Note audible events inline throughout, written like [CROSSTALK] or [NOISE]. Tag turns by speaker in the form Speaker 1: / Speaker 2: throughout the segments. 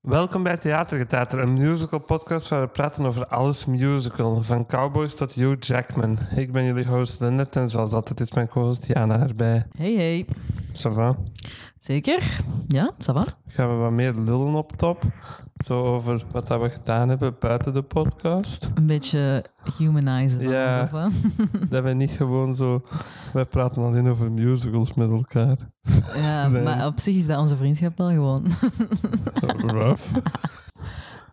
Speaker 1: Welkom bij Theatergetater, een musical podcast waar we praten over alles musical, van cowboys tot Hugh Jackman. Ik ben jullie host Lindert en zoals altijd is mijn co-host Jana erbij.
Speaker 2: Hey, hey.
Speaker 1: Ça va?
Speaker 2: Zeker? Ja, ça va?
Speaker 1: Gaan we wat meer lullen op top? Zo over wat dat we gedaan hebben buiten de
Speaker 2: [LAUGHS]
Speaker 1: podcast.
Speaker 2: Een beetje humanizen van
Speaker 1: Ja.
Speaker 2: ons, of wat?
Speaker 1: Dat we niet gewoon zo... Wij praten alleen over musicals met elkaar. [LAUGHS]
Speaker 2: Ja,
Speaker 1: Nee.
Speaker 2: maar op zich is dat onze vriendschap wel gewoon.
Speaker 1: Rough.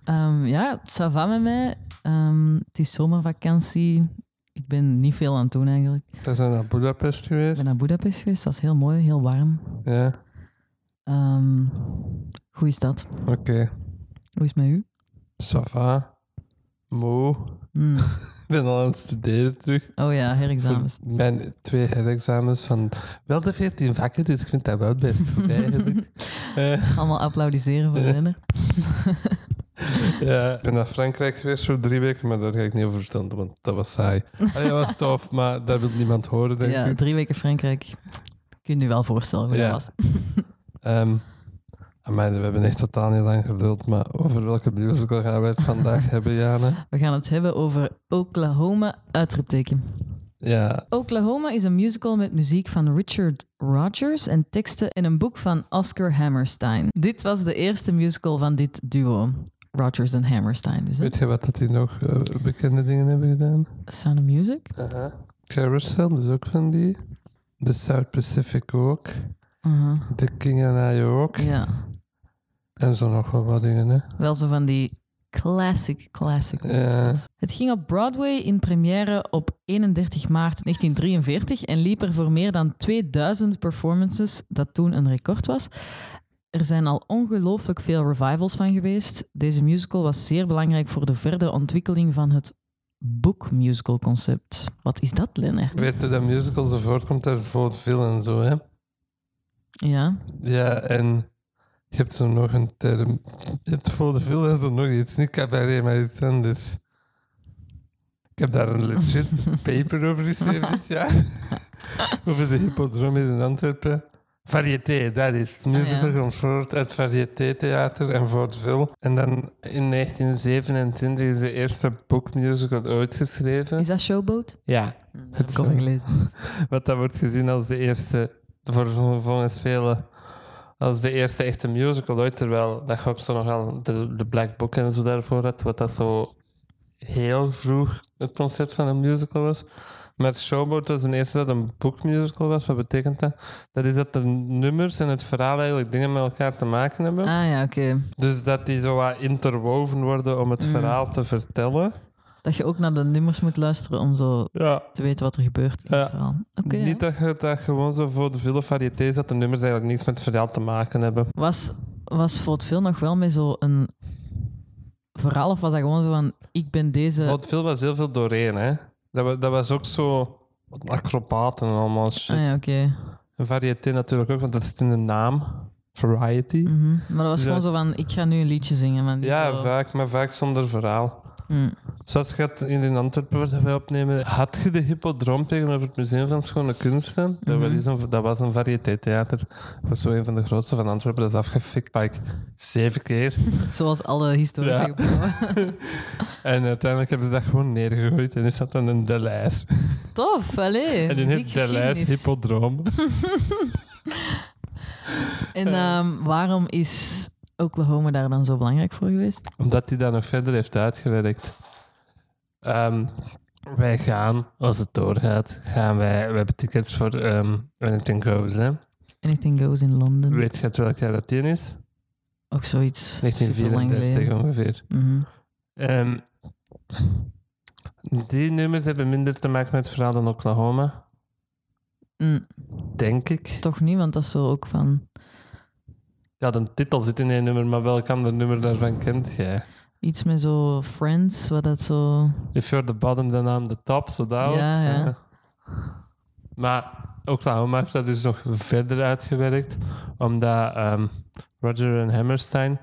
Speaker 2: Ehm, ja, ça va met mij. Ehm, het is zomervakantie. Ik ben niet veel aan het doen eigenlijk.
Speaker 1: We zijn naar Budapest
Speaker 2: Ik ben
Speaker 1: geweest.
Speaker 2: naar Budapest geweest, dat was heel mooi, heel warm.
Speaker 1: Ja,
Speaker 2: Ehm hoe is dat?
Speaker 1: oké.
Speaker 2: Hoe is het met u?
Speaker 1: Ça va? Moe. [LAUGHS]
Speaker 2: Hmm.
Speaker 1: Ik ben al aan het studeren terug.
Speaker 2: Oh ja, herexamens.
Speaker 1: Voor Mijn twee herexamens van wel de 14 vakken, dus ik vind dat wel best goed
Speaker 2: [LAUGHS]
Speaker 1: eigenlijk. Eh,
Speaker 2: Allemaal applaudisseren voor
Speaker 1: Ja.
Speaker 2: Lenner.
Speaker 1: ja. Ik ben naar Frankrijk geweest voor drie weken, maar daar ga ik niet over vertellen, want dat was saai. Allee, dat was tof, maar dat wil niemand horen, denk
Speaker 2: Ja,
Speaker 1: ik.
Speaker 2: drie weken Frankrijk. Kun je je wel voorstellen hoe
Speaker 1: Ja.
Speaker 2: dat was.
Speaker 1: Ehm amai, we hebben echt totaal niet lang geduld, maar over welke musical gaan wij het
Speaker 2: [LAUGHS]
Speaker 1: vandaag hebben, Jana?
Speaker 2: We gaan het hebben over Oklahoma, uitroepteken.
Speaker 1: Ja,
Speaker 2: Oklahoma is een musical met muziek van Richard Rodgers en teksten in een boek van Oscar Hammerstein. Dit was de eerste musical van dit duo. Rodgers en Hammerstein. Dus, hè?
Speaker 1: weet je wat dat die nog eh, bekende dingen hebben gedaan?
Speaker 2: Sound of Music?
Speaker 1: Carousel, dat is ook van die. The South Pacific ook.
Speaker 2: Uh-huh.
Speaker 1: The King and I ook.
Speaker 2: Ja.
Speaker 1: En zo nog wel wat dingen, hè.
Speaker 2: Wel zo van die classic, classic
Speaker 1: Ja.
Speaker 2: musicals. Het ging op Broadway in première op 31 maart 1943 en liep er voor meer dan 2000 performances, dat toen een record was. Er zijn al ongelooflijk veel revivals van geweest. Deze musical was zeer belangrijk voor de verdere ontwikkeling van het boekmusical concept. Wat is dat, Lennart?
Speaker 1: Weet je, dat musical zo voortkomt uit voor veel en zo, hè?
Speaker 2: Ja,
Speaker 1: Ja, en je hebt zo nog een term. Je hebt voor de veel en zo nog iets. Niet cabaret, maar iets anders. Ik heb daar een legit
Speaker 2: [LAUGHS]
Speaker 1: paper over geschreven [LAUGHS] dit jaar. over de hippodrom hier in Antwerpen. Variété, dat is het. Musical
Speaker 2: Ah, ja.
Speaker 1: komt voort uit Variété Theater en Fort Vil. En dan in 1927 is de eerste boekmusical ooit geschreven.
Speaker 2: is dat Showboat?
Speaker 1: Ja,
Speaker 2: Dat
Speaker 1: is
Speaker 2: heb ik
Speaker 1: zo.
Speaker 2: al gelezen.
Speaker 1: Wat dat wordt gezien als de eerste, voor, voor- volgens velen, als de eerste echte musical ooit. Terwijl dat je op zo nogal de, de Black Book en zo daarvoor had, wat dat zo heel vroeg het concept van een musical was. Maar Showboat was een eerste dat een boekmusical was. Wat betekent dat? Dat is dat de nummers en het verhaal eigenlijk dingen met elkaar te maken hebben.
Speaker 2: Ah ja, oké.
Speaker 1: Dus dat die zo wat interwoven worden om het
Speaker 2: Mm.
Speaker 1: verhaal te vertellen.
Speaker 2: Dat je ook naar de nummers moet luisteren om zo
Speaker 1: Ja,
Speaker 2: te weten wat er gebeurt in
Speaker 1: Ja.
Speaker 2: het verhaal. Oké. ja.
Speaker 1: Niet dat je dat gewoon zo voor de vele variëteits dat de nummers eigenlijk niks met het verhaal te maken hebben.
Speaker 2: Was, was voor het film nog wel met zo'n verhaal of was dat gewoon zo van ik ben deze...
Speaker 1: Voor het film was heel veel doorheen, hè. Dat, wa- dat was ook zo acrobaten en allemaal shit.
Speaker 2: ah ja, oké.
Speaker 1: En Variété natuurlijk ook, want dat zit in de naam. Variety.
Speaker 2: Mhm. Maar dat was
Speaker 1: Dus
Speaker 2: gewoon
Speaker 1: dat-
Speaker 2: zo van ik ga nu een liedje zingen. Maar niet
Speaker 1: Ja,
Speaker 2: zo...
Speaker 1: vaak, maar vaak zonder verhaal.
Speaker 2: Mm.
Speaker 1: Zoals je had in de Antwerpen waar wij opnemen, had je de Hippodroom tegenover het Museum van Schone Kunsten. dat,
Speaker 2: Mhm.
Speaker 1: wel is een- dat was een variëteitstheater. Dat was zo een van de grootste van Antwerpen. Dat is afgefikt, like, zeven
Speaker 2: [LAUGHS]
Speaker 1: keer.
Speaker 2: Zoals alle historische
Speaker 1: Ja.
Speaker 2: gebouwen.
Speaker 1: En uiteindelijk hebben ze dat gewoon neergegooid en nu staat dan een De Lijs.
Speaker 2: [LAUGHS] Tof, allee.
Speaker 1: en die heeft De Lijs
Speaker 2: muziekgeschiedenis.
Speaker 1: Hippodroom.
Speaker 2: [LAUGHS] En
Speaker 1: Eh,
Speaker 2: ehm, waarom is Oklahoma daar dan zo belangrijk voor geweest?
Speaker 1: Omdat hij dat nog verder heeft uitgewerkt. Ehm, wij gaan, als het doorgaat, gaan wij, we hebben tickets voor ehm Anything Goes. Hè?
Speaker 2: Mm. Anything Goes in London.
Speaker 1: Weet je het welk jaar dat die is?
Speaker 2: Ook zoiets. superlang
Speaker 1: 1934
Speaker 2: geleden.
Speaker 1: ongeveer.
Speaker 2: Mhm.
Speaker 1: Ehm, die nummers hebben minder te maken met het verhaal dan Oklahoma,
Speaker 2: Mm,
Speaker 1: denk ik.
Speaker 2: toch niet, want dat is zo ook van
Speaker 1: Ja, de titel zit in één nummer, maar welk ander nummer daarvan kent jij?
Speaker 2: iets met zo Friends, wat dat zo...
Speaker 1: If you're the bottom, then I'm the top. Zo dat ook.
Speaker 2: Ja, ja.
Speaker 1: Maar Oklahoma heeft dat dus nog verder uitgewerkt. Omdat ehm, Roger en Hammerstein...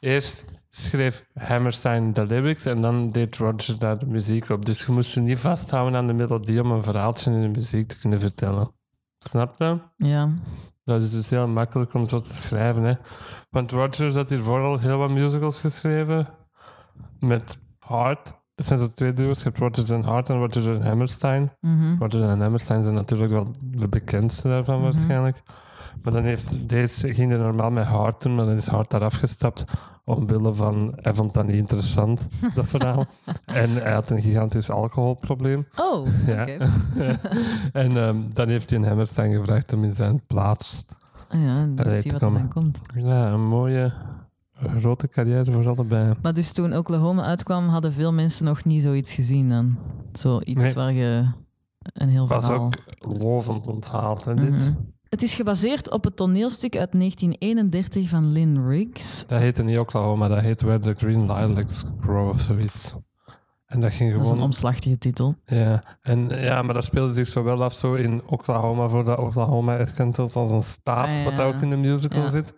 Speaker 1: Eerst schreef Hammerstein de lyrics en dan deed Roger daar de muziek op. Dus je moest je niet vasthouden aan de melodie om een verhaaltje in de muziek te kunnen vertellen. Snap je?
Speaker 2: Ja,
Speaker 1: Dat is dus heel makkelijk om zo te schrijven. Hè. Want Rogers had hiervoor al heel wat musicals geschreven. Met Hart. Dat zijn zo twee duo's. Je hebt Rogers en Hart en Rogers en Hammerstein.
Speaker 2: Mhm.
Speaker 1: Rogers en Hammerstein zijn natuurlijk wel de bekendste daarvan
Speaker 2: Mhm.
Speaker 1: waarschijnlijk. Maar dan heeft deze, ging er normaal met Hart doen, maar dan is Hart daar afgestapt. Omwille van, hij vond dat niet interessant, dat verhaal.
Speaker 2: [LAUGHS]
Speaker 1: en hij had een gigantisch alcoholprobleem.
Speaker 2: Oh,
Speaker 1: [LAUGHS] Ja.
Speaker 2: oké.
Speaker 1: en ehm, dan heeft hij een Hammerstein gevraagd om in zijn plaats.
Speaker 2: Ja,
Speaker 1: Allee,
Speaker 2: ik zie
Speaker 1: te
Speaker 2: wat er
Speaker 1: komen.
Speaker 2: dan komt.
Speaker 1: Ja, een mooie grote carrière voor allebei.
Speaker 2: Maar dus toen Oklahoma uitkwam, hadden veel mensen nog niet zoiets gezien dan. Zoiets
Speaker 1: Nee.
Speaker 2: waar je een heel
Speaker 1: Was
Speaker 2: verhaal...
Speaker 1: ook lovend onthaald. Hè, dit.
Speaker 2: Mhm. Het is gebaseerd op het toneelstuk uit 1931 van Lynn Riggs.
Speaker 1: Dat heette niet Oklahoma, dat heet Where the Green Lilacs Grow of zoiets. En dat ging
Speaker 2: Dat is een
Speaker 1: gewoon.
Speaker 2: omslachtige titel.
Speaker 1: ja. En, ja, maar dat speelde zich zo wel af zo in Oklahoma, voordat Oklahoma erkend wordt als een staat,
Speaker 2: Ah, ja.
Speaker 1: wat dat ook in de musical
Speaker 2: Ja.
Speaker 1: zit.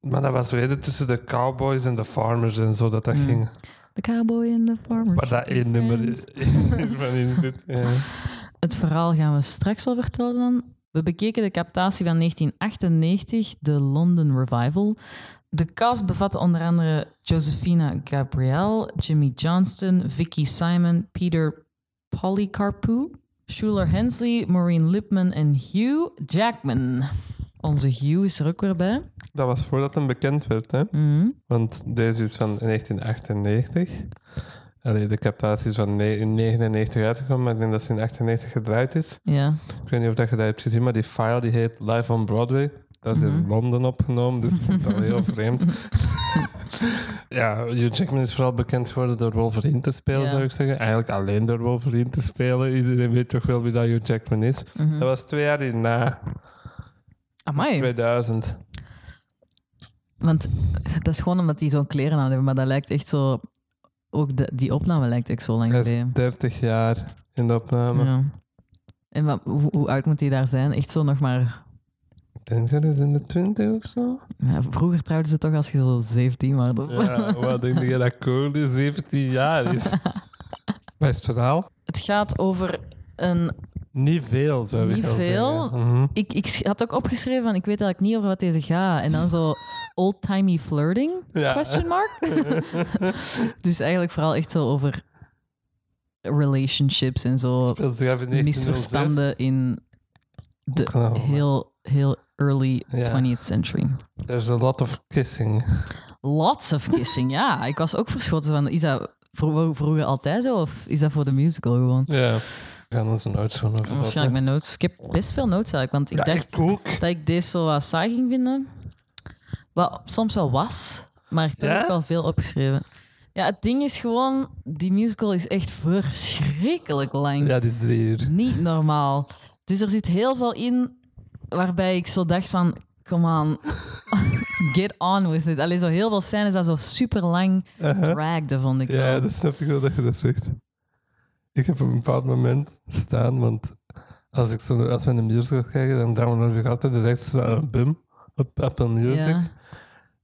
Speaker 1: Maar dat was weer tussen de cowboys en de farmers en zo dat dat
Speaker 2: Hmm.
Speaker 1: ging.
Speaker 2: The Cowboy and the Farmer.
Speaker 1: Waar dat één nummer [LAUGHS] van in zit. Ja.
Speaker 2: Het verhaal gaan we straks wel vertellen dan. We bekeken de captatie van 1998, de London Revival. De cast bevatte onder andere Josefina Gabriel, Jimmy Johnston, Vicky Simon, Peter Polycarpou, Schuler Hensley, Maureen Lipman en Hugh Jackman. Onze Hugh is er ook weer bij.
Speaker 1: Dat was voordat hem bekend werd, hè?
Speaker 2: Mhm.
Speaker 1: Want deze is van 1998. Allee, de captatie is van ne- in 99 uitgekomen, maar ik denk dat ze in 98 gedraaid is.
Speaker 2: Ja.
Speaker 1: Ik weet niet of dat je dat hebt gezien, maar die file die heet Live on Broadway. Dat is in
Speaker 2: Mhm.
Speaker 1: Londen opgenomen, dus ik vind dat wel heel
Speaker 2: [LAUGHS]
Speaker 1: vreemd. ja, Hugh Jackman is vooral bekend geworden door Wolverine te spelen,
Speaker 2: Ja.
Speaker 1: zou ik zeggen. Eigenlijk alleen door Wolverine te spelen. Iedereen weet toch wel wie dat Hugh Jackman is.
Speaker 2: Mhm.
Speaker 1: Dat was twee jaar hierna,
Speaker 2: Amai.
Speaker 1: 2000.
Speaker 2: Want dat is gewoon omdat die zo'n kleren aan hebben, maar dat lijkt echt zo... Ook de- die opname lijkt echt zo lang
Speaker 1: Hij is
Speaker 2: geleden.
Speaker 1: 30 jaar in de opname.
Speaker 2: Ja. En wat, hoe, hoe oud moet hij daar zijn? Echt zo nog maar...
Speaker 1: Ik denk dat het in de 20 of zo.
Speaker 2: Ja, vroeger trouwden ze toch als je zo 17 was. of zo.
Speaker 1: Ja, wat denk je dat Cole 17 jaar is? Wat is het verhaal?
Speaker 2: [LAUGHS] Het gaat over een...
Speaker 1: Niet veel, zou ik
Speaker 2: Niet
Speaker 1: wel
Speaker 2: veel.
Speaker 1: zeggen. Mhm.
Speaker 2: Ik, ik sch- had ook opgeschreven van, ik weet eigenlijk niet over wat deze gaat. En dan zo old-timey flirting?
Speaker 1: Ja. [LAUGHS]
Speaker 2: Question mark? dus eigenlijk vooral echt zo over relationships en zo.
Speaker 1: Speelt zich af in 1906.
Speaker 2: Misverstanden in de
Speaker 1: Oklahoma.
Speaker 2: heel, heel early
Speaker 1: Ja.
Speaker 2: 20th century.
Speaker 1: There's a lot of kissing.
Speaker 2: Lots of kissing, ja. Ik was ook verschoten van, is dat vro- vroeger altijd zo? Of is dat voor de musical gewoon?
Speaker 1: Ja. We gaan ons nooit zo over
Speaker 2: Waarschijnlijk mijn notes. Ik heb best veel notes eigenlijk, want ik
Speaker 1: ja,
Speaker 2: dacht
Speaker 1: ik ook.
Speaker 2: dat ik deze zo wat saai ging vinden. Wat soms wel was, maar toch
Speaker 1: Ja?
Speaker 2: ook wel veel opgeschreven. Ja, het ding is gewoon, die musical is echt verschrikkelijk lang.
Speaker 1: Ja, dit is drie uur.
Speaker 2: Niet normaal. Dus er zit heel veel in waarbij ik zo dacht van, come on, [LAUGHS] get on with it. Alleen zo heel veel scènes dat zo super lang
Speaker 1: Uh-huh.
Speaker 2: dragde, vond ik
Speaker 1: Ja,
Speaker 2: wel.
Speaker 1: dat snap ik wel dat je dat zegt. Ik heb op een bepaald moment staan, want als, ik zo, als we een musical kijken, dan download ik altijd direct een BIM eh, op Apple Music.
Speaker 2: Ja.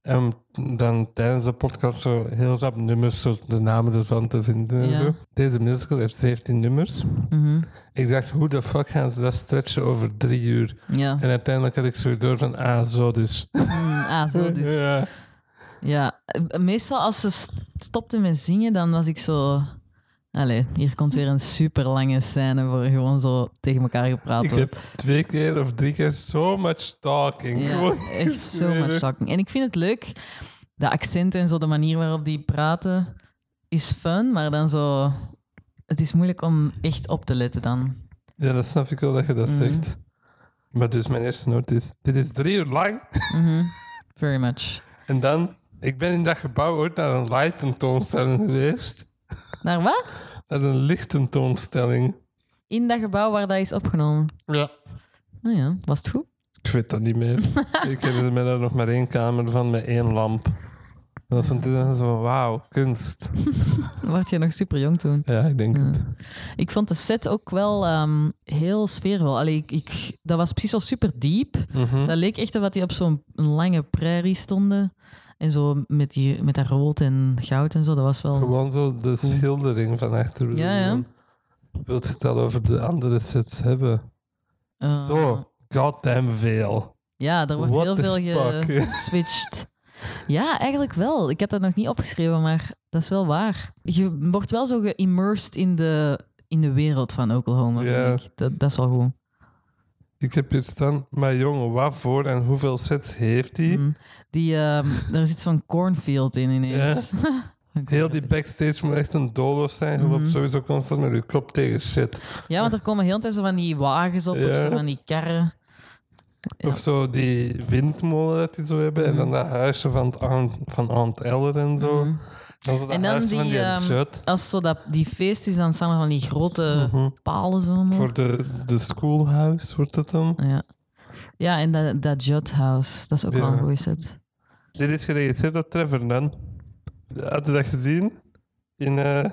Speaker 1: En Ehm, dan tijdens de podcast zo heel rap nummers, zo de namen ervan te vinden en
Speaker 2: Ja.
Speaker 1: zo. Deze musical heeft 17 nummers.
Speaker 2: Mhm.
Speaker 1: Ik dacht, hoe de fuck gaan ze dat stretchen over drie uur?
Speaker 2: Ja.
Speaker 1: En uiteindelijk had ik zo door van, ah, zo dus.
Speaker 2: Mm, ah, zo dus. Ja.
Speaker 1: [LAUGHS] Ja.
Speaker 2: Eh, Meestal als ze st- stopten met zingen, dan was ik zo... Allee, hier komt weer een super lange scène voor gewoon zo tegen elkaar gepraat
Speaker 1: Ik
Speaker 2: wordt.
Speaker 1: heb twee keer of drie keer so much talking.
Speaker 2: Ja,
Speaker 1: Gewoon
Speaker 2: echt zo much
Speaker 1: geschreven.
Speaker 2: shocking. En ik vind het leuk, de accenten en zo, de manier waarop die praten, is fun, maar dan zo... Het is moeilijk om echt op te letten dan.
Speaker 1: Ja, dat snap ik wel dat je dat
Speaker 2: Mhm.
Speaker 1: zegt. Maar dus mijn eerste noot is, dit is drie uur lang. [LAUGHS]
Speaker 2: Mhm. Very much.
Speaker 1: En dan, ik ben in dat gebouw ooit naar een light tentoonstelling geweest.
Speaker 2: Naar wat?
Speaker 1: Naar een lichttentoonstelling.
Speaker 2: In dat gebouw waar dat is opgenomen.
Speaker 1: Ja.
Speaker 2: Nou ja, was het goed?
Speaker 1: Ik weet dat niet
Speaker 2: [LAUGHS]
Speaker 1: meer. ik herinner me daar nog maar één kamer van met één lamp. En dat vond ik dan zo van, wauw, kunst.
Speaker 2: Word je nog super jong toen?
Speaker 1: Ja, ik denk het.
Speaker 2: Ik vond de set ook wel ehm, heel sfeervol. Allee, ik, ik, dat was precies al super diep.
Speaker 1: Mhm.
Speaker 2: Dat leek echt wat die op zo'n lange prairie stonden. En zo met, die, met dat rood en goud en zo. Dat was wel...
Speaker 1: Gewoon zo de schildering van achter.
Speaker 2: Ja, ja.
Speaker 1: Wilt je het al over de andere sets hebben?
Speaker 2: eh,
Speaker 1: Zo, goddamn veel.
Speaker 2: Ja, er wordt
Speaker 1: What
Speaker 2: heel
Speaker 1: the
Speaker 2: veel
Speaker 1: fuck? [LAUGHS]
Speaker 2: geswitcht. ja, eigenlijk wel. Ik heb dat nog niet opgeschreven, maar dat is wel waar. Je wordt wel zo geimmersed in de, in de wereld van Oklahoma.
Speaker 1: Ja.
Speaker 2: vind ik. Dat, dat is wel goed.
Speaker 1: Ik heb hier staan, maar jongen, wat voor en hoeveel sets heeft hij?
Speaker 2: Mm. Die, ehm, [LAUGHS] er zit zo'n cornfield in ineens.
Speaker 1: Heel die backstage moet echt een doolhof zijn. Je loopt
Speaker 2: Mhm.
Speaker 1: sowieso constant met je kop tegen shit.
Speaker 2: [LAUGHS] Ja, want er komen heel tijd zo van die wagens op of
Speaker 1: Ja.
Speaker 2: zo van die karren. Ja.
Speaker 1: Of zo die windmolen dat die zo hebben.
Speaker 2: Mhm.
Speaker 1: En dan dat huisje van, het aunt, van aunt Eller en zo.
Speaker 2: Mhm.
Speaker 1: Dan zo dat
Speaker 2: En dan
Speaker 1: huisje van
Speaker 2: die,
Speaker 1: die
Speaker 2: ehm,
Speaker 1: Judd.
Speaker 2: Als zo dat, die feest is, dan staan er van die grote
Speaker 1: Mhm.
Speaker 2: palen zo. omhoog.
Speaker 1: Voor de, de schoolhouse wordt dat dan.
Speaker 2: Ja. ja, en dat, dat Judd House, dat is ook wel een
Speaker 1: Ja.
Speaker 2: goeie set.
Speaker 1: Dit is geregisseerd door Trevor Nunn. Had je dat gezien? In eh,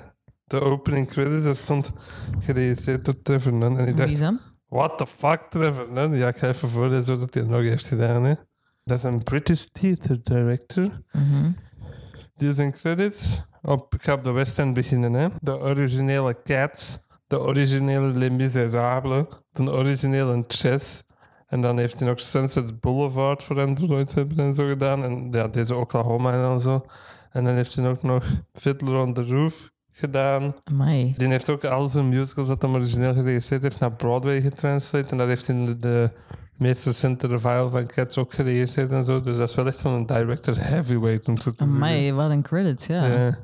Speaker 1: de opening credits er stond geregisseerd door Trevor Nunn. En ik
Speaker 2: Wie
Speaker 1: dacht,
Speaker 2: is hem?
Speaker 1: What the fuck, Trevor Nunn? Ja, ik ga even voorlezen wat hij nog heeft gedaan. Hè. Dat is een British theater director.
Speaker 2: Mhm.
Speaker 1: Die zijn credits op... Ik ga op de West End beginnen. Hè. De originele Cats, de originele Les Miserables, de originele Chess. En dan heeft hij ook Sunset Boulevard voor Android hebben en zo gedaan. En ja, deze Oklahoma en dan zo. En dan heeft hij ook nog Fiddler on the Roof gedaan.
Speaker 2: Amai.
Speaker 1: Die heeft ook al zijn musicals dat hij origineel geregisseerd heeft naar Broadway getranslate. En dat heeft in de, de meest recente revival van Cats ook geregisseerd en zo. Dus dat is wel echt zo'n director heavyweight om zo te
Speaker 2: Amai, wat een credit, ja.
Speaker 1: zeggen.
Speaker 2: ja.
Speaker 1: Ja.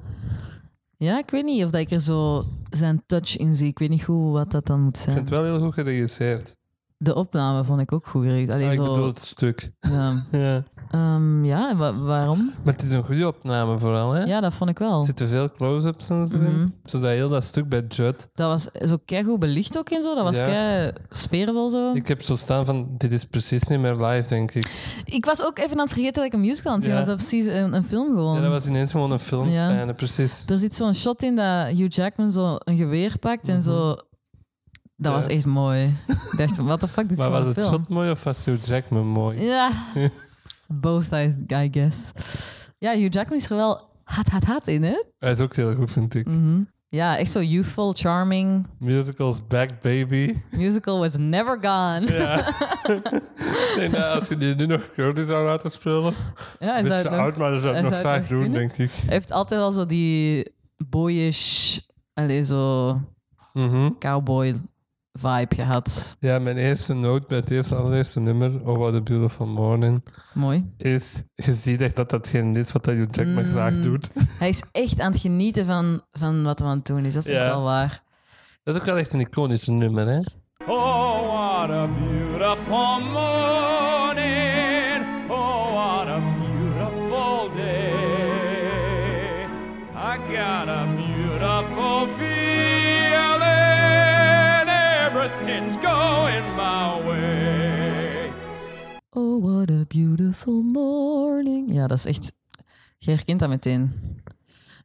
Speaker 2: ik weet niet of dat ik er zo zijn touch in zie. Ik weet niet goed wat dat dan moet
Speaker 1: Ik
Speaker 2: zijn.
Speaker 1: vind het wel heel goed geregisseerd.
Speaker 2: De opname vond ik ook goed gericht. Allee,
Speaker 1: Ah, ik
Speaker 2: zo,
Speaker 1: bedoel het stuk.
Speaker 2: ja.
Speaker 1: Ja.
Speaker 2: Ehm, ja, wa- waarom?
Speaker 1: Maar het is een goede opname vooral, hè?
Speaker 2: Ja, dat vond ik wel.
Speaker 1: Er zitten veel close-ups en zo
Speaker 2: Mhm.
Speaker 1: in. Zodat heel dat stuk bij Judd...
Speaker 2: Dat was zo keigoed belicht ook en zo. Dat was
Speaker 1: Ja.
Speaker 2: kei sfeervol zo. Ik,
Speaker 1: Ik heb zo staan van, dit is precies niet meer live, denk ik.
Speaker 2: was ook even aan het vergeten dat ik een musical aan het zien
Speaker 1: Ja.
Speaker 2: was. Dat was precies een, een film gewoon.
Speaker 1: Ja, dat was ineens gewoon een filmscène, precies.
Speaker 2: Er zit zo'n shot in dat Hugh Jackman zo een geweer pakt en zo... Dat
Speaker 1: Mhm. Ja.
Speaker 2: was echt mooi. Ik dacht, what the fuck, dit is
Speaker 1: Maar
Speaker 2: wel
Speaker 1: was
Speaker 2: een
Speaker 1: het
Speaker 2: film.
Speaker 1: shot mooi of was Hugh Jackman mooi? [LAUGHS]
Speaker 2: Ja. Both, I, I guess. Ja, Hugh Jackman is er wel haat, haat, haat in, hè?
Speaker 1: Hij is ook heel goed, vind ik.
Speaker 2: Mhm. Ja, echt zo youthful, charming.
Speaker 1: Musicals back, baby.
Speaker 2: [LAUGHS] Musical was never gone.
Speaker 1: Ja. nee, nou, als je die nu nog Curly zou laten spelen,
Speaker 2: Ja, hij
Speaker 1: een
Speaker 2: zou het
Speaker 1: beetje
Speaker 2: nog-
Speaker 1: oud, maar dat zou ik
Speaker 2: hij
Speaker 1: nog
Speaker 2: zou het
Speaker 1: vaak
Speaker 2: nog
Speaker 1: doen,
Speaker 2: kunnen.
Speaker 1: denk ik.
Speaker 2: hij heeft altijd wel zo die boyish, allee, zo
Speaker 1: Mhm.
Speaker 2: cowboy vibe gehad.
Speaker 1: Ja, mijn eerste noot bij het eerste, allereerste nummer, Oh What a Beautiful Morning,
Speaker 2: Mooi.
Speaker 1: is, je ziet echt dat dat geen is wat dat Hugh Jackman
Speaker 2: Mm.
Speaker 1: graag doet.
Speaker 2: Hij is echt aan het genieten van, van wat hij aan het doen is. Dat is echt
Speaker 1: Ja.
Speaker 2: wel waar.
Speaker 1: Dat is ook wel echt een iconisch nummer, hè?
Speaker 3: Oh, what a beautiful morning! Oh, what a beautiful day! I got a beautiful feeling. Everything's going my way.
Speaker 2: Oh, what a beautiful morning. Ja, dat is echt... Je herkent dat meteen.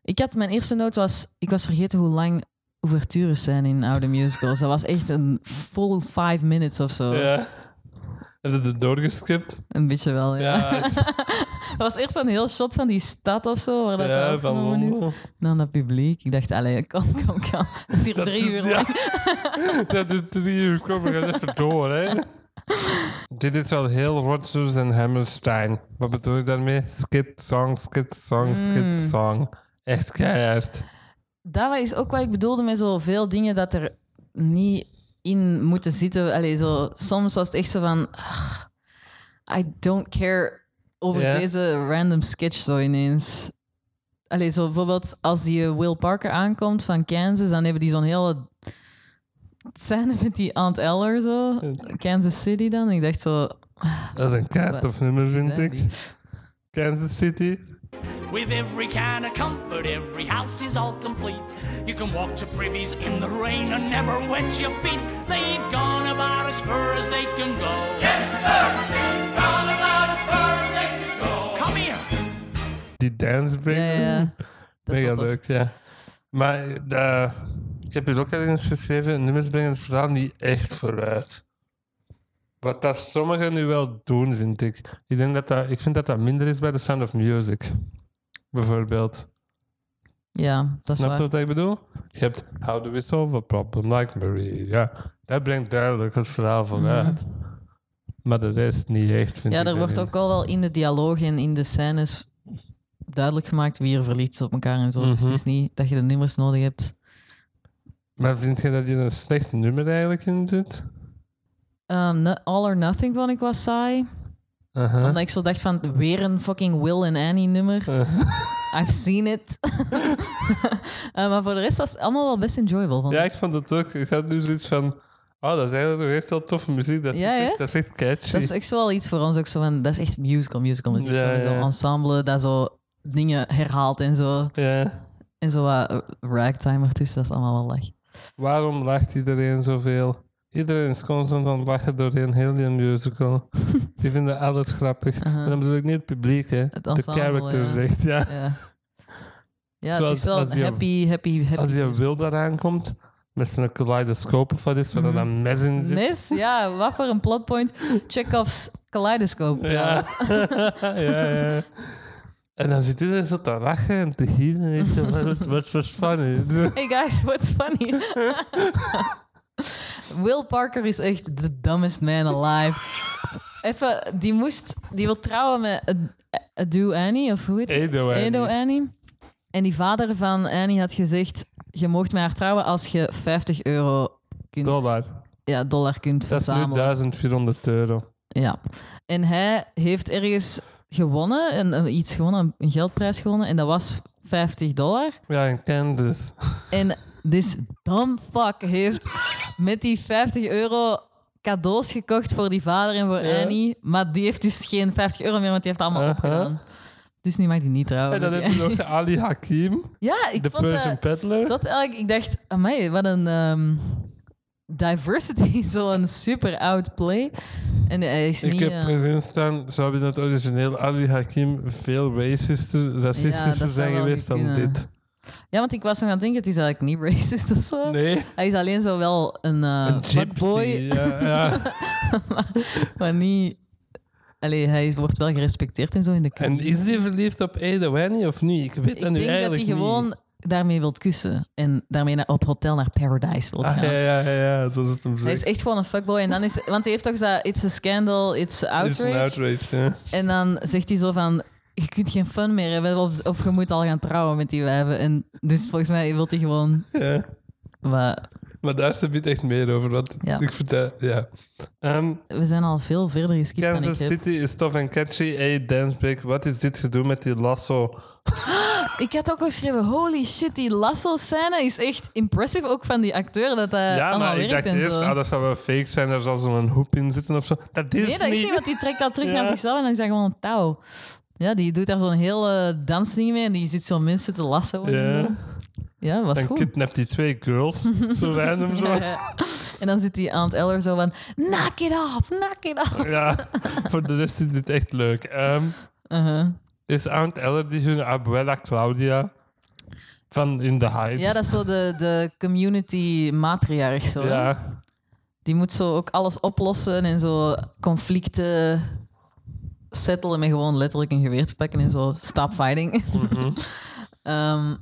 Speaker 2: Ik had... Mijn eerste noot was... Ik was vergeten hoe lang ouvertures zijn in oude musicals. Dat was echt een full five minutes of zo.
Speaker 1: Ja. Heb je het doorgeskipt?
Speaker 2: Een beetje wel, ja.
Speaker 1: Ja,
Speaker 2: [LAUGHS] Dat was eerst zo'n heel shot van die stad of zo. Waar dat
Speaker 1: ja, van
Speaker 2: opgenomen is.
Speaker 1: Londen.
Speaker 2: En dan dat publiek. Ik dacht, allee, kom, kom,
Speaker 1: [LAUGHS]
Speaker 2: kom. Dat is hier
Speaker 1: Dat
Speaker 2: drie
Speaker 1: doet-
Speaker 2: uur
Speaker 1: ja.
Speaker 2: lang.
Speaker 1: Dat doet drie uur, kom, we gaan even door, hè. Dit is wel heel Rodgers en Hammerstein. Wat bedoel ik daarmee? Skit, song, skit, song,
Speaker 2: Mm.
Speaker 1: skit, song. Echt keihard.
Speaker 2: Daar is ook wat ik bedoelde met zoveel dingen dat er niet in moeten zitten. Allee, zo, soms was het echt zo van... "Ugh, I don't care over
Speaker 1: Ja.
Speaker 2: deze random sketch zo ineens. Allee, zo bijvoorbeeld als die eh, Will Parker aankomt van Kansas, dan hebben die zo'n hele scène met die Aunt Eller zo. Kansas City dan. Ik dacht zo...
Speaker 1: Dat is een kaart of nummer, vind
Speaker 2: Zijn
Speaker 1: ik.
Speaker 2: die?
Speaker 1: Kansas City.
Speaker 3: With every kind of comfort, every house is all complete. You can walk to privies in the rain and never wet your feet. They've gone about as far as they can go. Yes, sir! They've gone about as far as they can go. Come here!
Speaker 1: Die dancebreak.
Speaker 2: Ja, ja, ja. Dat is
Speaker 1: Mega
Speaker 2: wel tof.
Speaker 1: leuk, ja. Maar eh, ik heb hier ook al eens geschreven, nummers brengen het verhaal niet echt vooruit. Wat dat sommigen nu wel doen, vind ik. Ik, denk dat dat, ik vind dat dat minder is bij The Sound of Music. Bijvoorbeeld.
Speaker 2: Ja, dat is
Speaker 1: Snap je
Speaker 2: waar.
Speaker 1: wat ik bedoel? Je hebt How Do We
Speaker 2: Mhm.
Speaker 1: Solve a Problem Like Marie. Ja, dat brengt duidelijk het verhaal vooruit. Maar de rest niet echt, vind
Speaker 2: Ja,
Speaker 1: ik.
Speaker 2: er wordt
Speaker 1: daarin.
Speaker 2: ook al wel in de dialoog en in de scènes duidelijk gemaakt wie er verliefd is op elkaar en zo. Dus het
Speaker 1: Mhm.
Speaker 2: is niet dat je de nummers nodig hebt.
Speaker 1: Maar vind je dat je een slecht nummer eigenlijk in zit?
Speaker 2: Ehm, no- All or Nothing vond ik was saai.
Speaker 1: Aha.
Speaker 2: Omdat ik zo dacht van, weer een fucking Will en Annie nummer. [LAUGHS]
Speaker 1: Eh,
Speaker 2: I've seen
Speaker 1: [LAUGHS]
Speaker 2: it. Eh, maar voor de rest was het allemaal wel best enjoyable. vond
Speaker 1: ja,
Speaker 2: ik.
Speaker 1: ik vond het ook. Ik had nu zoiets van... Oh, dat is eigenlijk nog echt wel toffe muziek. Dat is,
Speaker 2: Ja,
Speaker 1: echt,
Speaker 2: hè?
Speaker 1: dat is echt catchy.
Speaker 2: Dat is echt zo wel iets voor ons ook zo van, dat is echt musical, musical muziek.
Speaker 1: Ja,
Speaker 2: zo,
Speaker 1: ja.
Speaker 2: Zo'n ensemble dat zo dingen herhaalt en zo.
Speaker 1: ja.
Speaker 2: En zo wat eh, ragtime ertussen, dat is allemaal wel lach.
Speaker 1: Waarom lacht iedereen zoveel? Iedereen is constant aan het lachen door een hele
Speaker 2: [LAUGHS]
Speaker 1: musical. Die vinden alles grappig.
Speaker 2: Uh-huh.
Speaker 1: Maar dan bedoel ik niet het publiek, hè. de
Speaker 2: ensemble,
Speaker 1: characters
Speaker 2: ja.
Speaker 1: echt, ja.
Speaker 2: Ja, ja het
Speaker 1: Zoals
Speaker 2: is wel
Speaker 1: als je-
Speaker 2: happy, happy, happy.
Speaker 1: Als je wil daaraan komt, met zijn kaleidoscoop of wat is, waar
Speaker 2: Mhm.
Speaker 1: dan een mes in zit.
Speaker 2: Mis? Ja, wat voor een plotpoint. Chekhov's kaleidoscoop.
Speaker 1: Ja.
Speaker 2: trouwens.
Speaker 1: [LAUGHS] ja, ja. En dan zit iedereen zo te lachen en te gieren. En weet je, wat- wat was funny? [LAUGHS]
Speaker 2: Hey guys, what's funny? [LAUGHS] Will Parker is echt the dumbest man alive. Even, die moest, die wil trouwen met Ad- Ado Annie, of hoe heet het?
Speaker 1: Edo, hè.
Speaker 2: Edo Annie. En die vader van Annie had gezegd, je mocht met haar trouwen als je 50 euro kunt,
Speaker 1: Dollar.
Speaker 2: Ja, dollar kunt
Speaker 1: Dat is nu
Speaker 2: verzamelen.
Speaker 1: 1400 euro.
Speaker 2: Ja. En hij heeft ergens gewonnen, een, een- iets gewonnen, een geldprijs gewonnen. En dat was 50 dollar.
Speaker 1: Ja, in Kansas.
Speaker 2: Oh, En this dumb fuck heeft met die 50 euro cadeaus gekocht voor die vader en voor
Speaker 1: Ja.
Speaker 2: Annie. Maar die heeft dus geen 50 euro meer, want die heeft het allemaal
Speaker 1: Aha.
Speaker 2: opgedaan. Dus nu mag die niet trouwen.
Speaker 1: En dan
Speaker 2: met
Speaker 1: heb
Speaker 2: die
Speaker 1: je
Speaker 2: Annie.
Speaker 1: nog Ali Hakim,
Speaker 2: Ja, ik
Speaker 1: de
Speaker 2: vond dat...
Speaker 1: Persian Peddler.
Speaker 2: zat eigenlijk, ik dacht, amai, wat een ehm, diversity. [LAUGHS] Zo'n super oud play. En hij is
Speaker 1: Ik
Speaker 2: niet...
Speaker 1: heb
Speaker 2: eh,
Speaker 1: erin staan, zou in het origineel Ali Hakim veel racister,
Speaker 2: Ja, dat
Speaker 1: racistischer
Speaker 2: zou
Speaker 1: zijn
Speaker 2: wel
Speaker 1: geweest dan
Speaker 2: kunnen.
Speaker 1: dit?
Speaker 2: Ja, want ik was nog aan het denken, het is eigenlijk niet [LAUGHS] racist of zo.
Speaker 1: Nee,
Speaker 2: Hij is alleen zo wel een, eh
Speaker 1: een gypsy.
Speaker 2: fuckboy,
Speaker 1: Ja,
Speaker 2: [LAUGHS]
Speaker 1: ja.
Speaker 2: maar niet... Allee, hij is- wordt wel gerespecteerd en zo in de
Speaker 1: En
Speaker 2: kring.
Speaker 1: is die verliefd op Ada Wanny of niet? Ik weet
Speaker 2: Ik
Speaker 1: dat nu
Speaker 2: denk dat hij
Speaker 1: eigenlijk
Speaker 2: gewoon
Speaker 1: niet.
Speaker 2: daarmee wilt kussen. En daarmee naar, op hotel naar Paradise wilt gaan.
Speaker 1: Ah, ja, ja, ja, ja, zoals het hem
Speaker 2: Hij is
Speaker 1: zegt.
Speaker 2: echt gewoon een fuckboy. En dan is, want hij heeft toch dat It's a scandal, it's outrage.
Speaker 1: Het is een outrage, ja.
Speaker 2: En dan zegt hij zo van... Je kunt geen fun meer hebben of, of je moet al gaan trouwen met die wijven. En dus volgens mij wil hij gewoon...
Speaker 1: ja.
Speaker 2: Wat-
Speaker 1: Maar daar staat het echt meer over. Want
Speaker 2: Ja.
Speaker 1: ik vertel, ja. Ehm,
Speaker 2: we zijn al veel verder geskipt dan ik
Speaker 1: Kansas
Speaker 2: heb.
Speaker 1: City is tof en catchy. Hey, dance break. Wat is dit gedoe met die lasso?
Speaker 2: Eh, Ik had ook geschreven, holy shit, die lasso-scène is echt impressive. Ook van die acteur, dat dat
Speaker 1: ja,
Speaker 2: allemaal
Speaker 1: maar ik
Speaker 2: werkt
Speaker 1: dacht
Speaker 2: en
Speaker 1: eerst,
Speaker 2: zo.
Speaker 1: ah, dat zou wel fake zijn. Daar zal zo'n hoep in zitten of zo. Dat is
Speaker 2: nee, dat is niet, want die trekt dat
Speaker 1: [LAUGHS]
Speaker 2: terug
Speaker 1: Ja.
Speaker 2: naar zichzelf en dan is dat gewoon een touw. Ja, die doet daar zo'n hele dansding mee en die zit zo mensen te lassen.
Speaker 1: Ja.
Speaker 2: ja was
Speaker 1: Dan
Speaker 2: goed.
Speaker 1: kidnapt die twee
Speaker 2: [LAUGHS]
Speaker 1: girls. zo random zo.
Speaker 2: Ja, ja. En dan zit die Aunt Eller zo van, knock it off, knock it off.
Speaker 1: Ja, voor de rest is dit echt leuk. Ehm,
Speaker 2: Uh-huh.
Speaker 1: is Aunt Eller die hun abuela Claudia van In The Heights?
Speaker 2: Ja, dat is zo de, de community matriarch zo. hè?
Speaker 1: Ja.
Speaker 2: Die moet zo ook alles oplossen en zo conflicten settelen met gewoon letterlijk een geweer te pakken en zo stop fighting. [LAUGHS]
Speaker 1: Mhm.
Speaker 2: Ehm,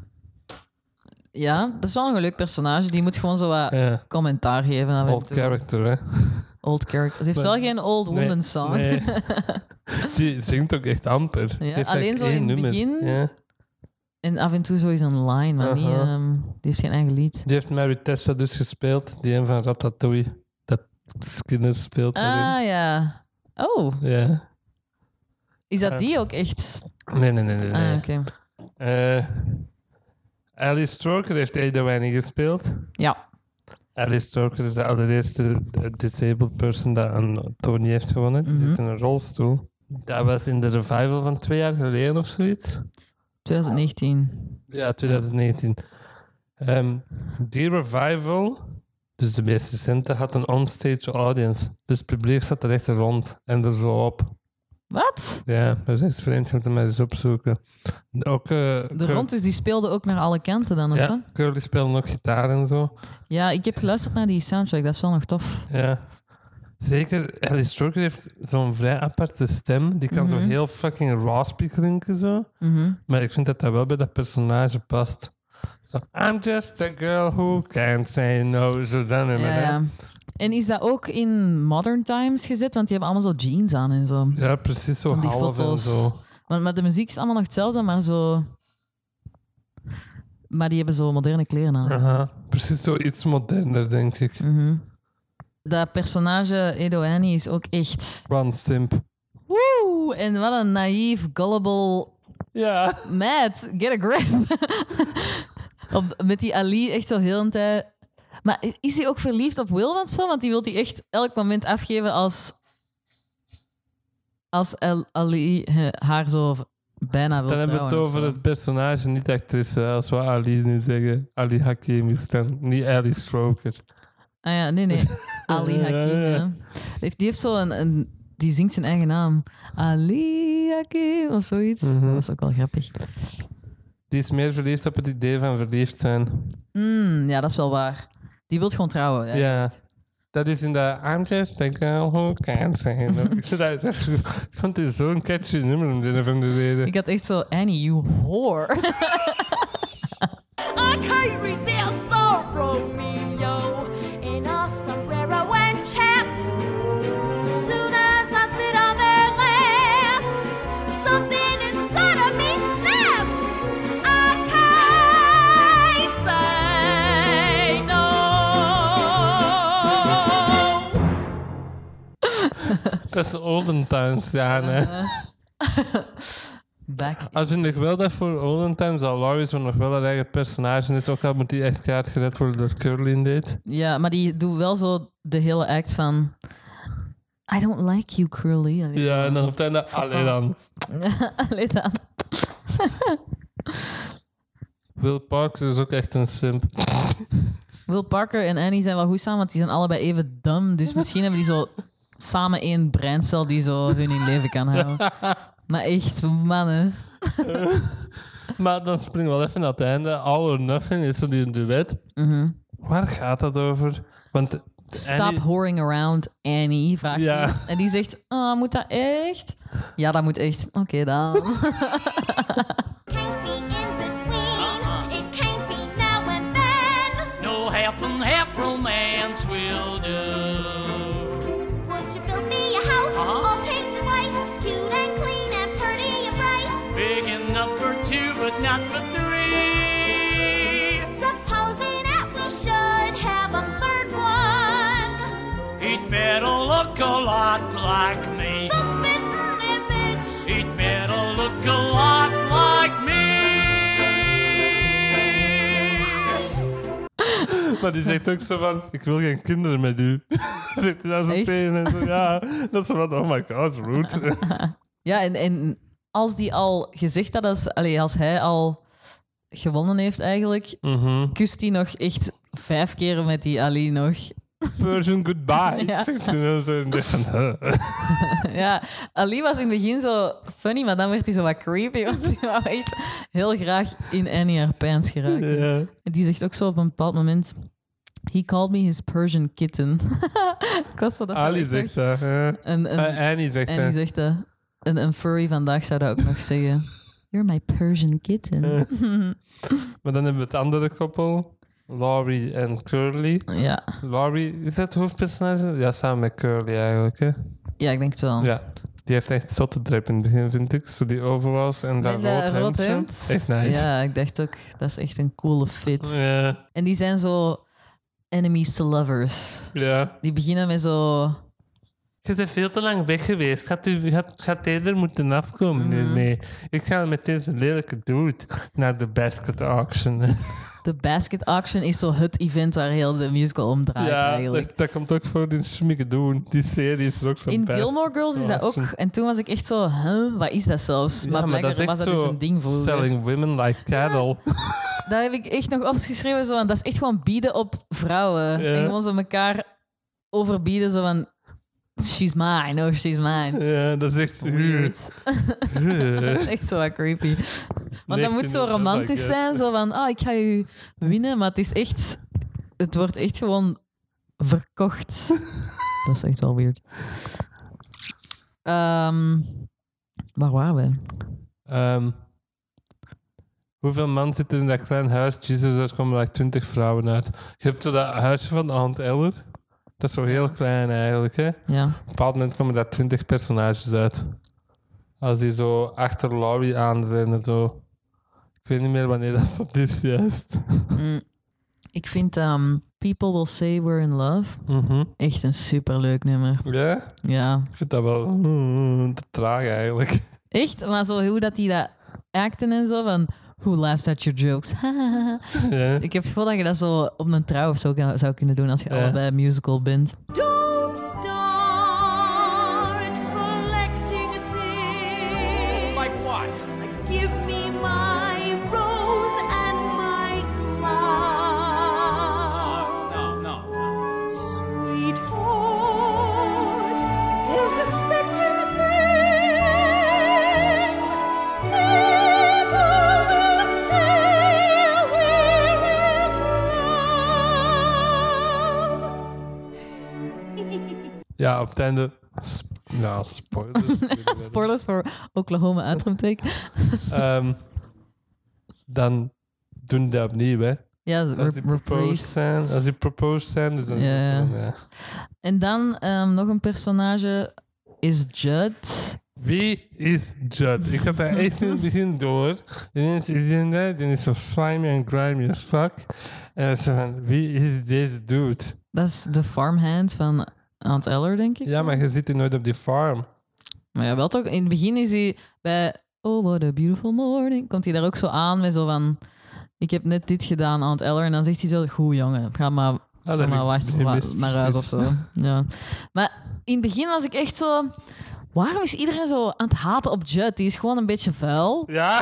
Speaker 2: ja, dat is wel een leuk personage. Die moet gewoon zo wat
Speaker 1: ja.
Speaker 2: commentaar geven. Aan
Speaker 1: Old Eh, character, hè?
Speaker 2: Old character. Ze heeft
Speaker 1: Maar-
Speaker 2: wel geen old woman
Speaker 1: Nee,
Speaker 2: song.
Speaker 1: nee. Die zingt ook echt amper. Die heeft
Speaker 2: alleen
Speaker 1: echt
Speaker 2: zo
Speaker 1: één
Speaker 2: in het
Speaker 1: nummer.
Speaker 2: begin.
Speaker 1: Ja.
Speaker 2: [LAUGHS] En af en toe zo is een line, maar niet,
Speaker 1: Aha.
Speaker 2: ehm, die heeft geen eigen lied.
Speaker 1: Die heeft Mary Tessa dus gespeeld, die een van Ratatouille, dat Skinner speelt. erin.
Speaker 2: Ah ja. Oh,
Speaker 1: Ja.
Speaker 2: is dat
Speaker 1: Ah.
Speaker 2: die ook echt?
Speaker 1: Nee, nee, nee, nee. nee.
Speaker 2: Ah, oké.
Speaker 1: Eh, Alice Stroker heeft Ada Wanning gespeeld.
Speaker 2: Ja.
Speaker 1: Alice Stroker is de allereerste eh, disabled person dat een Tony heeft gewonnen. Die
Speaker 2: Mhm.
Speaker 1: zit in een rolstoel. Dat was in de revival van twee jaar geleden of zoiets.
Speaker 2: 2019.
Speaker 1: Ja, 2019. Ehm, die revival, dus de meest recente, had een onstage audience. Dus het publiek zat er echt rond en er zo op.
Speaker 2: Wat?
Speaker 1: Ja, dat is echt vreemd. Je moet hem maar eens opzoeken. Ook, eh,
Speaker 2: De
Speaker 1: Cur-
Speaker 2: Rontus die speelden ook naar alle kanten dan, of wat?
Speaker 1: Ja, Curly speelde ook gitaar en zo.
Speaker 2: Ja, ik heb geluisterd naar die soundtrack. Dat is wel nog tof.
Speaker 1: Ja. Zeker, Alice Stroker heeft zo'n vrij aparte stem. Die kan zo
Speaker 2: Mhm.
Speaker 1: heel fucking raspy klinken zo.
Speaker 2: Mhm.
Speaker 1: Maar ik vind dat dat wel bij dat personage past. Zo, I'm just a girl who can't say no. Zo dan
Speaker 2: Ja,
Speaker 1: nummer, hè.
Speaker 2: ja. En is dat ook in modern times gezet? Want die hebben allemaal zo jeans aan en zo.
Speaker 1: Ja, precies zo
Speaker 2: Van die
Speaker 1: half en
Speaker 2: foto's.
Speaker 1: zo.
Speaker 2: Want maar de muziek is allemaal nog hetzelfde, maar zo... Maar die hebben zo moderne kleren aan.
Speaker 1: Aha. Precies zo iets moderner, denk ik.
Speaker 2: Mhm. Dat personage Edo Annie is ook echt...
Speaker 1: One simp.
Speaker 2: Woe! En wat een naïef, gullible...
Speaker 1: Ja.
Speaker 2: Matt, get a grip! [LAUGHS] op, met die Ali echt zo heel een tijd... Maar is hij ook verliefd op Will of zo? Want die wil die echt elk moment afgeven als... Als El- Ali eh, haar zo bijna wil
Speaker 1: Dan hebben we het
Speaker 2: trouwen of
Speaker 1: over
Speaker 2: zo.
Speaker 1: het personage, niet de actrice. hè. Als we Ali nu zeggen, Ali Hakim is dan niet Ali Stroker.
Speaker 2: Ah ja,
Speaker 1: [LAUGHS]
Speaker 2: nee, nee. Ali Hakim.
Speaker 1: Ja, ja, ja.
Speaker 2: ja. Die heeft- Die heeft zo een, een... Die zingt zijn eigen naam. Ali Hakim of zoiets.
Speaker 1: Mhm.
Speaker 2: Dat is ook wel grappig.
Speaker 1: Die is meer verliefd op het idee van verliefd zijn.
Speaker 2: Mm, ja, dat is wel waar. Die wil gewoon trouwen.
Speaker 1: Ja.
Speaker 2: Ja.
Speaker 1: Dat is in de aangeest, denk ik, hoe kan
Speaker 2: [LAUGHS]
Speaker 1: zijn. ik, vind dat, dat is- ik vond dit zo'n catchy nummer om de een of andere reden.
Speaker 2: Ik had echt zo... Annie, you whore.
Speaker 1: [LAUGHS]
Speaker 4: I can't resist the Romeo in a sombrero and chaps. Soon as I sit on their laps, something inside of me snaps. I can't say no.
Speaker 1: Dat is Oldentimes, ja. nee.
Speaker 2: Ah. Back.
Speaker 1: Al vind ik wel dat voor Oldentimes al Loris nog wel een eigen personage is. Ook al moet hij echt kaart gered worden door Curly in dit.
Speaker 2: Ja, maar die doet wel zo de hele act van... I don't like you, Curly. En ik
Speaker 1: Ja,
Speaker 2: zo,
Speaker 1: en dan op het einde, allee dan.
Speaker 2: [LAUGHS] Allee dan.
Speaker 1: Will Parker is ook echt een simp.
Speaker 2: Will Parker en Annie zijn wel goed samen, want die zijn allebei even dom. Dus misschien hebben die zo samen één breincel die zo hun in leven kan
Speaker 1: [LAUGHS]
Speaker 2: houden. Maar echt, mannen.
Speaker 1: Maar dan springen we wel even naar het einde. All or Nothing is zo die duet.
Speaker 2: Mhm.
Speaker 1: Waar gaat dat over? Want de
Speaker 2: Stop
Speaker 1: Annie-
Speaker 2: whoring around, Annie, vraagt
Speaker 1: Ja.
Speaker 2: hij. En die zegt, oh, moet dat echt? Ja, dat moet echt.
Speaker 1: [LAUGHS]
Speaker 2: Oké dan.
Speaker 4: Can't be in between. It can't be now and then.
Speaker 3: No half and half romance will do.
Speaker 4: Won't you build me a house
Speaker 3: Uh-huh.
Speaker 4: all painted white, cute and clean and pretty and bright?
Speaker 3: Big enough for two, but not for three.
Speaker 4: Supposing that we should have a third one.
Speaker 3: He'd better look a lot like me.
Speaker 4: The spitting image.
Speaker 3: He'd better look a lot like me.
Speaker 1: Maar die zegt ook zo van, ik wil geen kinderen met u. [LAUGHS] zegt hij daar zo
Speaker 2: Echt?
Speaker 1: tegen en zo, ja. Dat is van, oh my god,
Speaker 2: [LAUGHS]
Speaker 1: rude.
Speaker 2: Ja, en, en als die al gezegd had, als, allee, als hij al gewonnen heeft eigenlijk,
Speaker 1: Mhm.
Speaker 2: kust hij nog echt vijf keer met die Ali nog. [LAUGHS]
Speaker 1: Persian goodbye.
Speaker 2: Ja.
Speaker 1: Zegt hij dan zo en denkt van,
Speaker 2: [LAUGHS]
Speaker 1: huh.
Speaker 2: Ja, Ali was in het begin zo funny, maar dan werd hij zo wat creepy, [LAUGHS] want hij wou echt heel graag in Annie haar pants geraken.
Speaker 1: Ja.
Speaker 2: En die zegt ook zo op een bepaald moment, he called me his Persian kitten. [LAUGHS] Ik was zo, dat is wel
Speaker 1: Ali
Speaker 2: echt
Speaker 1: zegt
Speaker 2: echt
Speaker 1: dat. hè.
Speaker 2: Een, een,
Speaker 1: Eh, Annie zegt
Speaker 2: Annie
Speaker 1: dat.
Speaker 2: zegt dat. Een, een furry vandaag zou dat ook nog zeggen. [LAUGHS] You're my Persian kitten.
Speaker 1: Maar dan hebben we het andere koppel. Laurie en Curly.
Speaker 2: Ja.
Speaker 1: Laurie, is dat het hoofdpersonage? Ja, samen met Curly eigenlijk. Hè?
Speaker 2: Ja, ik denk het wel.
Speaker 1: Ja. Die heeft echt zotte drip in het begin, vind ik. Zo die overalls en dat
Speaker 2: Met
Speaker 1: rood
Speaker 2: dat
Speaker 1: hemdje.
Speaker 2: rood hemd.
Speaker 1: Echt nice.
Speaker 2: Ja, ik dacht ook, dat is echt een coole fit.
Speaker 1: Ja.
Speaker 2: En die zijn zo enemies to lovers.
Speaker 1: ja.
Speaker 2: Die beginnen met zo...
Speaker 1: Je bent veel te lang weg geweest. Gaat, u, gaat, gaat hij er moeten afkomen? Nee,
Speaker 2: Mhm.
Speaker 1: nee. Ik ga met deze lelijke dude naar de basket auction.
Speaker 2: De basket auction is zo het event waar heel de musical om draait
Speaker 1: ja,
Speaker 2: eigenlijk.
Speaker 1: dat, dat komt ook voor die schmikke doen. Die serie is er ook zo'n
Speaker 2: In
Speaker 1: basket
Speaker 2: Gilmore Girls is dat ook.
Speaker 1: auction.
Speaker 2: En toen was ik echt zo, huh, wat is dat zelfs?
Speaker 1: Ja,
Speaker 2: maar
Speaker 1: maar dat
Speaker 2: blijkbaar
Speaker 1: is echt
Speaker 2: was dat
Speaker 1: zo
Speaker 2: dus een ding vroeger.
Speaker 1: Selling women like cattle.
Speaker 2: Daar heb ik echt nog opgeschreven, zo, van, dat is echt gewoon bieden op vrouwen.
Speaker 1: Ja.
Speaker 2: En gewoon zo elkaar overbieden, zo van, she's mine, oh, she's mine.
Speaker 1: Ja, dat is echt...
Speaker 2: Weird. Dat is [LAUGHS] echt zo wat creepy. Want dat moet
Speaker 1: 1907,
Speaker 2: zo
Speaker 1: I
Speaker 2: romantisch
Speaker 1: guess.
Speaker 2: zijn, zo van, ah, ik ga u winnen, maar het is echt, het wordt echt gewoon
Speaker 1: [LAUGHS]
Speaker 2: verkocht. dat is echt wel weird. Ehm, waar waren we?
Speaker 1: [LAUGHS] Ehm, hoeveel man zitten in dat klein huis? Jesus, daar komen like 20 vrouwen uit. Je hebt zo dat huisje van Aunt Eller. Dat is zo heel klein eigenlijk. Hè? Op
Speaker 2: Ja.
Speaker 1: een bepaald moment komen daar 20 personages uit. Als die zo achter Laurie aanrennen, zo. Ik weet niet meer wanneer dat, dat is juist.
Speaker 2: Mm. Ik vind ehm, People Will Say We're In Love
Speaker 1: Mhm.
Speaker 2: echt een superleuk nummer.
Speaker 1: Ja,
Speaker 2: Ja.
Speaker 1: ik vind dat wel mm, te traag eigenlijk. [LAUGHS]
Speaker 2: Echt, maar zo hoe dat die dat acten en zo van... Who laughs at your jokes? [LAUGHS]
Speaker 1: Ja.
Speaker 2: ik heb het gevoel dat je dat zo op een trouw of zo kan- zou kunnen doen als je
Speaker 1: Ja.
Speaker 2: allebei musical bent.
Speaker 5: Don't start collecting things.
Speaker 3: Like what?
Speaker 5: Give me my rose and my flower.
Speaker 3: Oh, No, no.
Speaker 5: Sweetheart, they're suspecting things. People will say we're in love.
Speaker 1: Ja, op het einde. sp- Ja, [LAUGHS] spoilers.
Speaker 2: Spoilers voor Oklahoma Atrumtake.
Speaker 1: Ehm, dan doen die dat opnieuw, hè?
Speaker 2: ja,
Speaker 1: Als die
Speaker 2: rep-
Speaker 1: proposed
Speaker 2: reprise.
Speaker 1: zijn. Als die proposed zijn, dus dan is
Speaker 2: Ja.
Speaker 1: het zo, ja.
Speaker 2: En dan ehm, nog een personage is Judd.
Speaker 1: Wie is Judd? Ik had dat
Speaker 2: [LAUGHS]
Speaker 1: echt in het begin door. Ineens is hij daar, die is zo slimy en grimy as fuck. En dan is hij van, wie is deze dude?
Speaker 2: Dat is de farmhand van Aunt Eller, denk ik.
Speaker 1: Ja, maar je zit hier nooit op die farm.
Speaker 2: Maar ja, wel toch. In het begin is hij bij Oh, what a beautiful morning. Komt hij daar ook zo aan met zo van... Ik heb net dit gedaan, Aunt Eller. En dan zegt hij zo... Goed, jongen. Ga maar,
Speaker 1: Ah,
Speaker 2: ga
Speaker 1: heb
Speaker 2: maar
Speaker 1: ik
Speaker 2: wacht,
Speaker 1: niet
Speaker 2: wa-
Speaker 1: mis,
Speaker 2: naar huis of
Speaker 1: precies. [LAUGHS]
Speaker 2: zo. Ja. Maar in het begin was ik echt zo... Waarom is iedereen zo aan het haten op Judd? Die is gewoon een beetje vuil.
Speaker 1: Ja?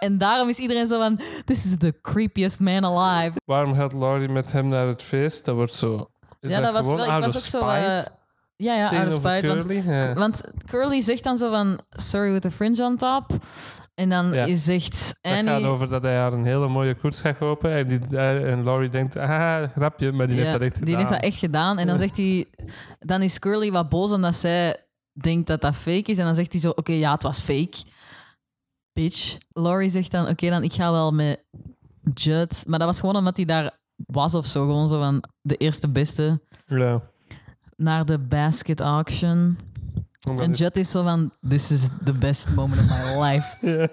Speaker 2: En daarom is iedereen zo van... This is the creepiest man alive.
Speaker 1: Waarom gaat Laurie met hem naar het feest? Dat wordt zo... Is
Speaker 2: ja, dat was
Speaker 1: gewoon
Speaker 2: wel... Ik
Speaker 1: out of
Speaker 2: was ook zo... eh,
Speaker 1: spite
Speaker 2: ja, ja, out of
Speaker 1: tegenover
Speaker 2: spite. Want
Speaker 1: Curly? [LAUGHS] Ja.
Speaker 2: Want Curly zegt dan zo van sorry with the fringe on top. En dan
Speaker 1: Ja.
Speaker 2: is zegt
Speaker 1: Het gaat
Speaker 2: Annie.
Speaker 1: over dat hij haar een hele mooie koets gaat kopen. En, die, eh, en Laurie denkt, ah, grapje, maar die
Speaker 2: Ja,
Speaker 1: heeft dat echt
Speaker 2: die
Speaker 1: gedaan.
Speaker 2: heeft dat echt gedaan. En dan zegt hij, dan is Curly wat boos omdat zij denkt dat dat fake is. En dan zegt hij zo, oké, ja, het was fake. Bitch. Laurie zegt dan, oké, dan ik ga wel met Judd. Maar dat was gewoon omdat hij daar was of zo. Gewoon zo van de eerste beste
Speaker 1: Ja.
Speaker 2: naar de basket auction.
Speaker 1: Omdat
Speaker 2: en
Speaker 1: die-
Speaker 2: Judd is zo van, this is the best moment of my life.
Speaker 1: Ja.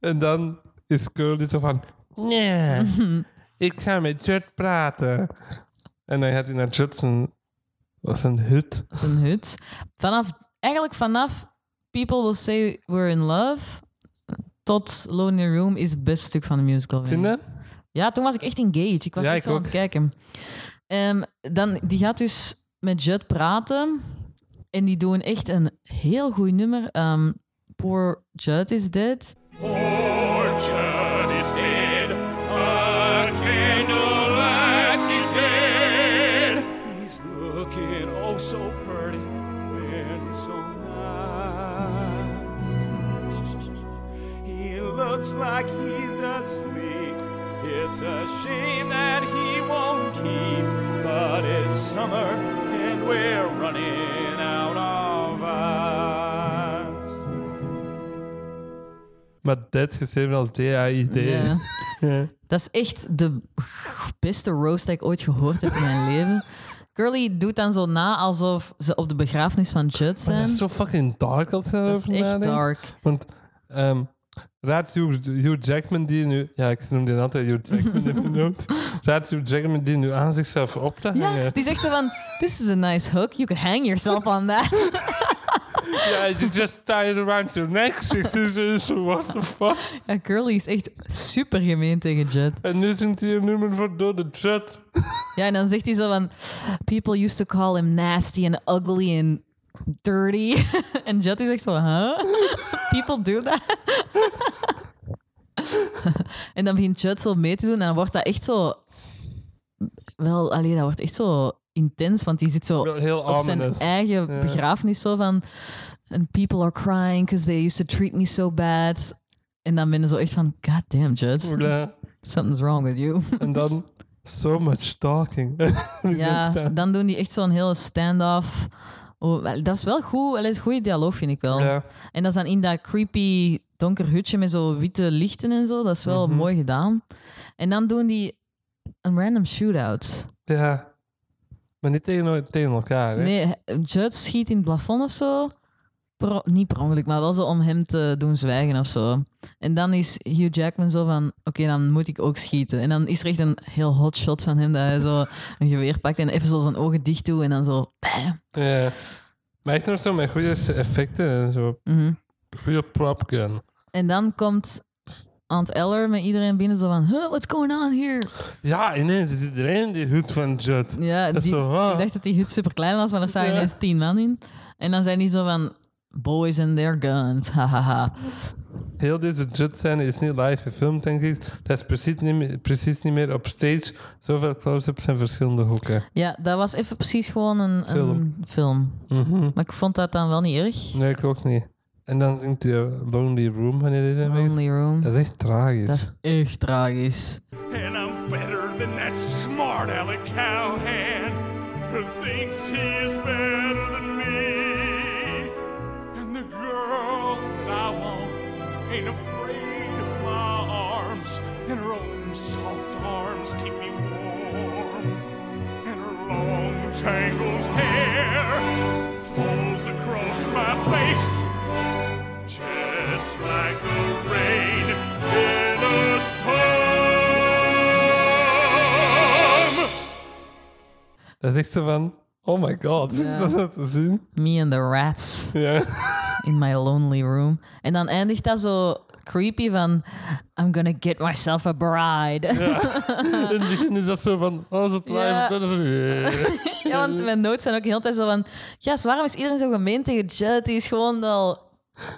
Speaker 1: en dan is Curly zo van... Nee,
Speaker 2: [LAUGHS]
Speaker 1: ik ga met Judd praten. En dan gaat hij naar Judd zijn, was een hut.
Speaker 2: een hut. Vanaf, eigenlijk vanaf People Will Say We're In Love tot Lonely Room is het beste stuk van de musical. vind
Speaker 1: Vind
Speaker 2: ik.
Speaker 1: je?
Speaker 2: Ja, toen was ik echt engaged. Ik was
Speaker 1: Ja,
Speaker 2: echt
Speaker 1: ik
Speaker 2: zo aan het
Speaker 1: ook.
Speaker 2: kijken. Ehm, dan, die gaat dus met Judd praten. En die doen echt een heel goed nummer. Ehm, Poor Judd is Dead.
Speaker 3: Fortune is dead. A candle lights his head. He's looking oh so pretty and so nice. He looks like he's asleep. It's a shame that he won't keep. But it's summer and we're running out of us.
Speaker 1: Maar dat geschreven als D-A-I-D. [LAUGHS]
Speaker 2: Ja. Dat is echt de beste roast die ik ooit gehoord heb in mijn leven. Curly doet dan zo na alsof ze op de begrafenis van Judd
Speaker 1: Maar Oh, dat
Speaker 2: zijn.
Speaker 1: is zo fucking dark als je
Speaker 2: Dat
Speaker 1: erover
Speaker 2: is echt
Speaker 1: nadenkt.
Speaker 2: dark.
Speaker 1: Want ehm raad Hugh, Hugh Jackman die nu... Ja, ik noem die altijd Hugh Jackman.
Speaker 2: [LAUGHS]
Speaker 1: heb ik genoemd. raad Hugh Jackman die nu aan zichzelf op te hangen.
Speaker 2: Ja, die zegt zo van, this is a nice hook, you can hang yourself on that.
Speaker 1: Ja, you just tie it around your neck. Zegt hij zo, zo, what the fuck?
Speaker 2: [LAUGHS] Ja, Curly is echt super gemeen tegen Judd.
Speaker 1: En nu zingt hij een nummer voor dode Judd.
Speaker 2: Ja, en dan zegt hij zo van, people used to call him nasty and ugly and dirty. [LAUGHS] En Judd is echt zo, huh? [LAUGHS] People do that? [LAUGHS] En dan begint Judd zo mee te doen en dan wordt dat echt zo... Wel, alleen dat wordt echt zo intens, want die zit zo
Speaker 1: Wel heel
Speaker 2: op zijn
Speaker 1: ominous.
Speaker 2: eigen
Speaker 1: Ja.
Speaker 2: begrafenis zo van... And people are crying because they used to treat me so bad. En dan ben je zo echt van, god damn, Judd.
Speaker 1: Ja,
Speaker 2: Something's wrong with
Speaker 1: [LAUGHS]
Speaker 2: you.
Speaker 1: En dan, so much
Speaker 2: [LAUGHS]
Speaker 1: talking.
Speaker 2: Oh. Ja,
Speaker 1: dat
Speaker 2: dan doen die echt zo'n hele stand-off. Oh, wel, dat is wel goed. Dat is goede dialoog, vind ik wel.
Speaker 1: Ja.
Speaker 2: En dat is dan in dat creepy donker hutje met zo witte
Speaker 1: Mhm.
Speaker 2: lichten en zo. Dat is wel mooi gedaan. En dan doen die een random shootout.
Speaker 1: Ja. Maar niet tegen, tegen elkaar, hè?
Speaker 2: Nee, hij- Judd schiet in het plafond of zo. Per- niet per ongeluk, maar wel zo om hem te doen zwijgen of zo. En dan is Hugh Jackman zo van, oké, dan moet ik ook schieten. En dan is er echt een heel hot shot van hem dat hij zo een geweer pakt en even zo zijn ogen dicht doet en dan zo... Bam.
Speaker 1: Ja. Maar echt nog zo met goede effecten en zo.
Speaker 2: Mhm.
Speaker 1: Goede prop gun.
Speaker 2: En dan komt Aunt Eller met iedereen binnen zo van, huh, what's going on here?
Speaker 1: Ja, ineens is iedereen die hoed van Judd.
Speaker 2: Ja,
Speaker 1: Dat is
Speaker 2: die,
Speaker 1: zo, ah.
Speaker 2: ik dacht dat die hut super klein was, maar daar staan
Speaker 1: Ja.
Speaker 2: ineens tien man in. En dan zijn die zo van, boys and their guns, [LAUGHS] hahaha.
Speaker 1: Heel deze Judd-scène is niet live gefilmd, denk ik. Dat is precies niet, meer- precies niet meer op stage. Zoveel close-ups en verschillende hoeken.
Speaker 2: Ja, dat was even precies gewoon een film.
Speaker 1: Film.
Speaker 2: film.
Speaker 1: Mhm.
Speaker 2: Maar ik vond dat dan wel niet erg.
Speaker 1: Nee, ik ook niet. En dan zingt hij eh, Lonely Room wanneer hij daarmee is.
Speaker 2: Lonely Room.
Speaker 1: Dat
Speaker 2: Dat
Speaker 1: is echt tragisch.
Speaker 2: is echt tragisch.
Speaker 3: And I'm better than that smart Alec Cowhand who thinks he is better than me. And the girl that I want ain't afraid of my arms, and her own soft arms keep me warm. And her long tangled hair falls across my face just like the rain in a storm.
Speaker 1: Dat is echt zo van... Oh my god, is dat nou te zien?
Speaker 2: Me and the rats [LAUGHS]
Speaker 1: Ja.
Speaker 2: in my lonely room. En dan eindigt dat zo creepy van... I'm gonna get myself a bride. [LAUGHS] Ja,
Speaker 1: In het begin is dat zo van... Oh, is het live?
Speaker 2: Ja.
Speaker 1: Dat is... [LAUGHS] het.
Speaker 2: want mijn notes zijn ook heel de tijd zo van... Jas, waarom is iedereen zo gemeen tegen Judd? Die is gewoon al...